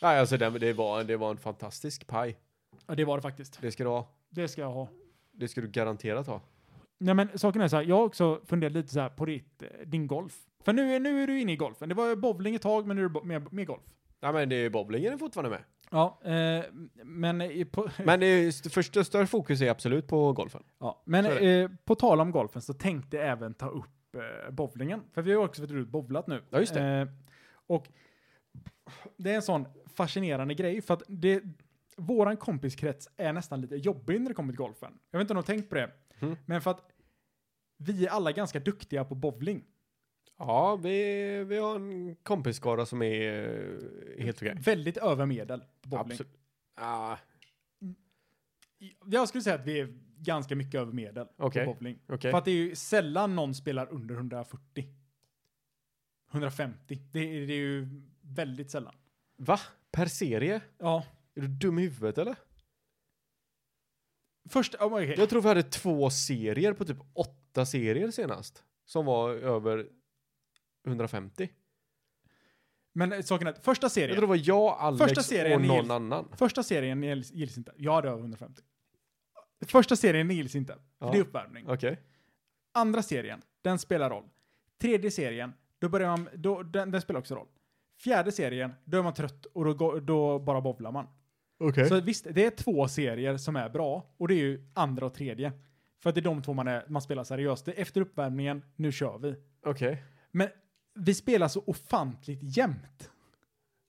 Nej, alltså det, det, var, det var en fantastisk paj.
Ja, det var det faktiskt.
Det ska du ha.
Det ska jag ha.
Det ska du garanterat ha.
Nej men saken är så här, jag har också funderat lite så här på ditt, eh, din golf. För nu, är- nu är du inne i golfen. Det var ju bowling ett tag, men nu är det bo- mer, mer golf.
Nej, men det är bowlingen är fortfarande med.
Ja, eh, men, i- på,
Men det är, st- första större fokus är absolut på golfen.
ja, men
så är
eh, på tal om golfen så tänkte jag även ta upp eh, bowlingen. För vi har ju också varit ute och bowlat nu.
Ja, just det.
Eh, och det är en sån fascinerande grej, för att det, våran kompiskrets är nästan lite jobbig när det kommer till golfen. Jag vet inte om du har tänkt på det,
Mhm.
men för att vi är alla ganska duktiga på bowling.
Ja, vi, vi har en kompisskara som är eh, helt okej.
Väldigt över medel på bowling.
Absolut. Ah,
Jag skulle säga att vi är ganska mycket över medel
Okej.
på bowling.
okej.
För att det är ju sällan någon spelar under 140. 150. Det är, det är ju väldigt sällan.
Va? Per serie?
Ja.
Är du dum i huvudet eller?
Först, oh, okej.
Jag tror vi hade två serier på typ åtta serier senast. Som var över 150.
Men saken är att första
Jag
serien,
tror det var jag, Alex
Första serien
och
är
någon
helt-
annan.
första serien gills, gills inte. Jag hade över 150. Första serien gills inte. För
Ja.
Det är uppvärmning.
Okej.
Andra serien, den spelar roll. Tredje serien, då börjar man, då, den, den spelar också roll. Fjärde serien, då är man trött och då, går- då bara bowlar man.
Okej.
Så visst, det är två serier som är bra och det är ju andra och tredje. För att det är de två man, är, man spelar seriöst. Det är efter uppvärmningen, nu kör vi.
Okej.
Men vi spelar så ofantligt jämnt.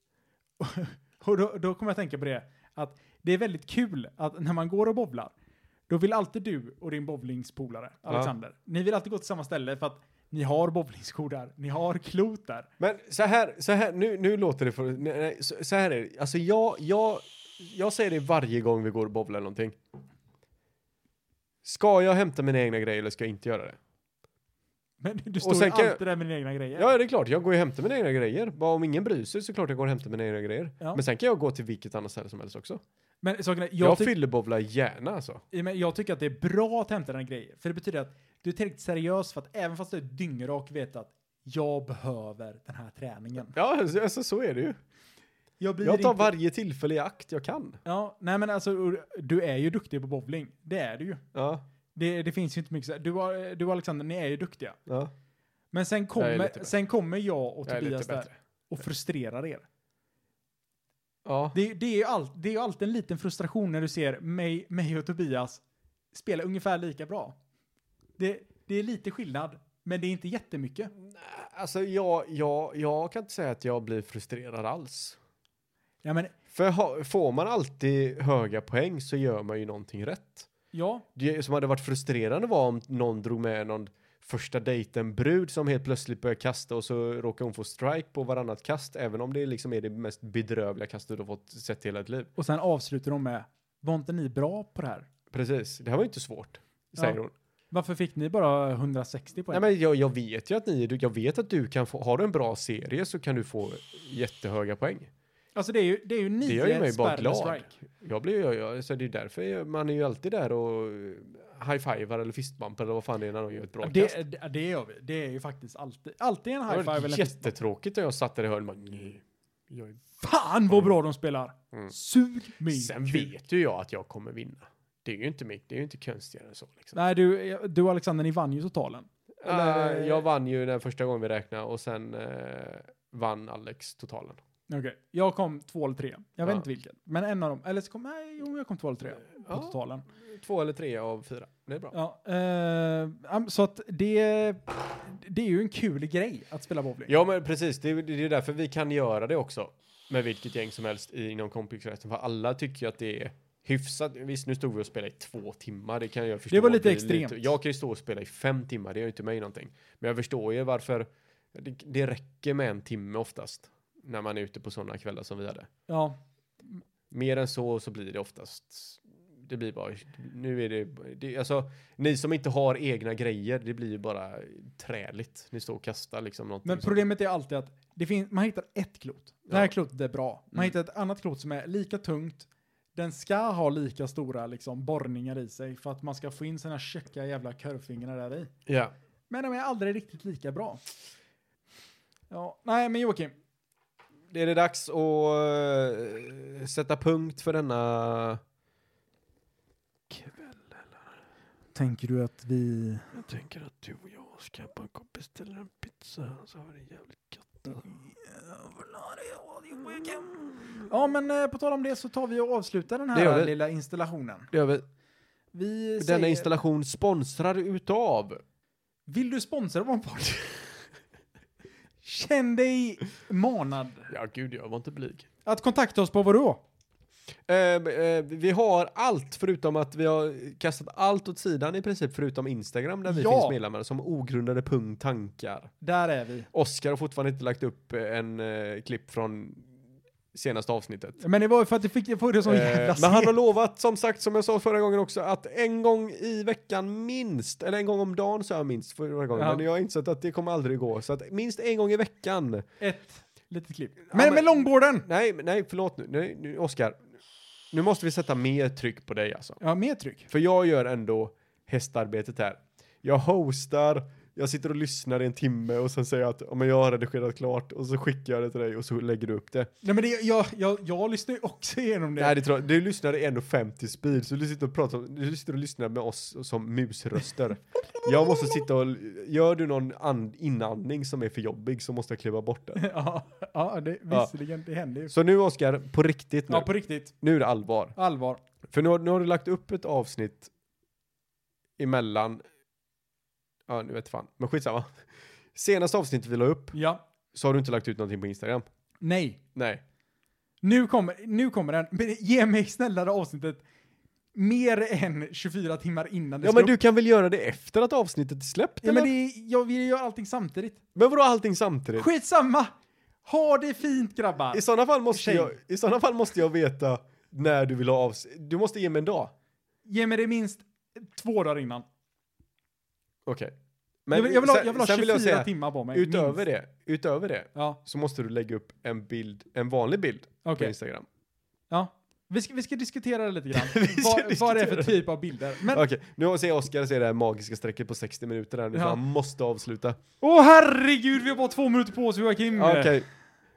Och då, då kommer jag tänka på det, att det är väldigt kul att när man går och bowlar, då vill alltid du och din bowlingspolare, Alexander, ni vill alltid gå till samma ställe för att ni har bowlingskor där, ni har klot där.
Men så här, så här nu, nu låter det för... Nej, nej, så, så här är det. Alltså jag, jag, jag säger det varje gång vi går och bowlar eller någonting. Ska jag hämta mina egna grejer eller ska jag inte göra det?
Men du står ju
sen kan jag-
alltid där med dina egna grejer.
Ja, det är klart. Jag går och hämtar mina egna grejer. Bara om ingen bryr sig så klart jag går och hämtar mina egna grejer.
Ja.
Men sen kan jag gå till vilket annat ställe som helst också.
Men saken är, jag
Jag,
tycker-
fyllebowlar gärna alltså.
Ja, men jag tycker att det är bra att hämta dina grejer. För det betyder att du är tillräckligt seriös för att även fast du är dyngrak vet att jag behöver den här träningen.
Ja, alltså, alltså så är det ju.
Jag, blir
Jag tar
inte-
varje tillfälle i akt jag kan.
Ja, nej men alltså du är ju duktig på bowling. Det är du ju.
Ja,
Det, det finns ju inte mycket så här- du, och- du och Alexander, ni är ju duktiga.
ja.
Men sen
lite
kommer,
bättre.
sen kommer jag och
Jag är lite
Tobias där
bättre.
och frustrerar er.
Ja.
Det, det är ju allt, det är ju alltid en liten frustration när du ser mig, mig och Tobias spela ungefär lika bra. Det, det är lite skillnad, men det är inte jättemycket.
Alltså jag, jag, jag kan inte säga att jag blir frustrerad alls.
Ja, men
För ha, får man alltid höga poäng så gör man ju någonting rätt.
ja,
Det som hade varit frustrerande var om någon drog med någon första dejten brud som helt plötsligt börjar kasta och så råkar hon få strike på varannat kast även om det liksom är det mest bedrövliga kastet du har fått sett i hela ditt liv.
Och sen avslutar de med, var inte ni bra på det här?
Precis, det här var ju inte svårt, säger
Ja.
hon.
Varför fick ni bara 160 poäng?
Nej men jag, jag vet ju att ni, är du- jag vet att du kan få, har du en bra serie så kan du få jättehöga poäng.
alltså det är ju, det är ju nio
Det gör ju mig bara
spärr med
glad.
strike.
Jag blir jag, jag, så det är därför jag, man är ju alltid där och eh, high-fivar eller fistbumpar eller vad fan det är när de gör ett bra kast.
Det, det, det gör vi. Det är ju faktiskt alltid, alltid en high
Det
five
var
eller en fist.
jättetråkigt när jag satt där i hörnet och bara, "Nej, jag är...
Fan vad bra de spelar! Sug min
Mm. Sen
kuk.
vet ju jag att jag kommer vinna. Det är ju inte mitt, det är ju inte konstigare än så liksom.
Nej du, du och Alexander ni vann ju totalen. eller-
Eh, jag vann ju den första gången vi räknade och sen eh, vann Alex totalen.
Okej, jag kom två eller tre. Jag vet
Ja.
inte vilken. Men en av dem, eller så kom, nej jo jag kom två eller tre på
Ja.
totalen.
Två eller tre av fyra. Det är bra.
Ja, eh, am- så att det, det är ju en kul grej att spela bowling.
Ja, men precis. Det är, det är därför vi kan göra det också. Med vilket gäng som helst i- inom kompisrätten. För alla tycker ju att det är hyfsat. Visst, nu stod vi och spelade i två timmar. Det kan jag förstå.
Det var lite
blir
extremt.
jag kan ju stå och spela i fem timmar. Det gör ju inte mig någonting. Men jag förstår ju varför. Det, det räcker med en timme oftast. när man är ute på sådana kvällar som vi hade.
Ja,
Mer än så så blir det oftast, det blir bara, nu är det, det alltså ni som inte har egna grejer, det blir ju bara träligt. Ni står och kastar liksom någonting.
men
som-
problemet är alltid att det finns, man hittar ett klot. Det här
Ja.
klotet är bra. Man
Mm.
hittar ett annat klot som är lika tungt. Den ska ha lika stora liksom, borrningar i sig för att man ska få in sina käcka jävla körfingrar där i.
Ja.
Men de är aldrig riktigt lika bra. Ja, nej men Joakim.
Det är det dags att eh, sätta punkt för denna kväll.
Tänker du att vi...
Jag tänker att du och jag ska bara gå och beställa en pizza så har vi det jävligt gött.
Ja men eh, på tal om det så tar vi och avslutar den
Det gör
här
vi.
lilla installationen.
Det gör vi.
Vi
Denna
säger...
installation sponsrar utav.
Vill du sponsra vår podd? Känn dig manad.
Ja, gud, jag var inte blyg.
Att kontakta oss på vad då?
Eh, eh, vi har allt förutom att vi har kastat allt åt sidan i princip förutom Instagram där vi
Ja.
finns medlemmar som ogrundade punkt tankar.
Där är vi.
Oskar har fortfarande inte lagt upp eh, en eh, klipp från senaste avsnittet.
Men det var ju för att du fick få det som jävla
Eh, men han har
sent.
lovat, som sagt, som jag sa förra gången också, att en gång i veckan minst, eller en gång om dagen sa jag minst förra gången,
Ja.
men jag har insett att det kommer aldrig gå. Så att minst en gång i veckan.
Ett litet klipp. Men,
men-
men långborden!
Nej, men- nej, förlåt nu, nej, nu Oskar. Nu måste vi sätta mer tryck på dig alltså.
Ja, mer tryck.
För jag gör ändå hästarbetet här. Jag hostar, jag sitter och lyssnar i en timme och sen säger jag att "Ja, men jag har redigerat klart och så skickar jag det till dig och så lägger du upp det.
Nej men det, jag, jag, jag lyssnar ju också igenom det.
Nej, det tror jag. Du lyssnar i 1,50 speed, så du sitter och pratar, om- du sitter och lyssnar med oss som musröster. jag måste sitta och, gör du någon and, inandning som är för jobbig så måste jag kliva bort den.
ja, ja det,
Ja.
visserligen, det händer ju.
Så nu Oskar, på riktigt nu.
Ja, på riktigt.
Nu är det allvar.
Allvar.
För nu har, nu har du lagt upp ett avsnitt emellan, ja nu vet fan, men skitsamma. Senaste avsnittet vi la upp
Ja.
så har du inte lagt ut någonting på Instagram.
Nej.
Nej.
Nu kommer, nu kommer den. Men ge mig snällare avsnittet mer än 24 timmar innan det
Ja
ska
men
upp.
du kan väl göra det efter att avsnittet är släppt
Ja,
eller?
men det, är- jag vill ju göra allting samtidigt.
men vadå allting samtidigt?
Skitsamma! Ha det fint grabbar!
I sådana fall måste
Tjej.
jag, i sådana fall måste jag veta när du vill ha avsnitt. Du måste ge mig en dag.
Ge mig det minst två dagar innan.
Okej.
Jag vill, jag vill ha,
sen-
jag vill ha
sen
24
vill jag säga,
timmar på mig. minst.
Utöver det, utöver det,
Ja,
så måste du lägga upp en bild, en vanlig bild på
okej.
Instagram.
Ja. Vi ska, vi ska diskutera det lite grann.
Vi ska
vad, vad det är för
diskutera
typ av bilder. Men,
Okej, nu ser jag Oskar se det här magiska strecket på 60 minuter här nu, så
Ja.
han måste avsluta.
åh herregud, vi har bara två minuter på oss Joakim.
Okej.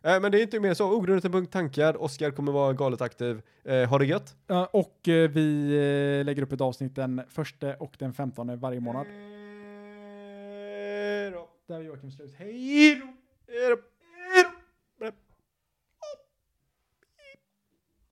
Eh, men det är inte mer så. Ogrundat punkt tankar. Oskar kommer vara galet aktiv. Eh, ha det gött.
Ja, Och eh, vi eh, lägger upp ett avsnitt den första och den femtonde varje månad.
Hej då.
Där är Joakim slut. Hej då!
Hej då. Hej då.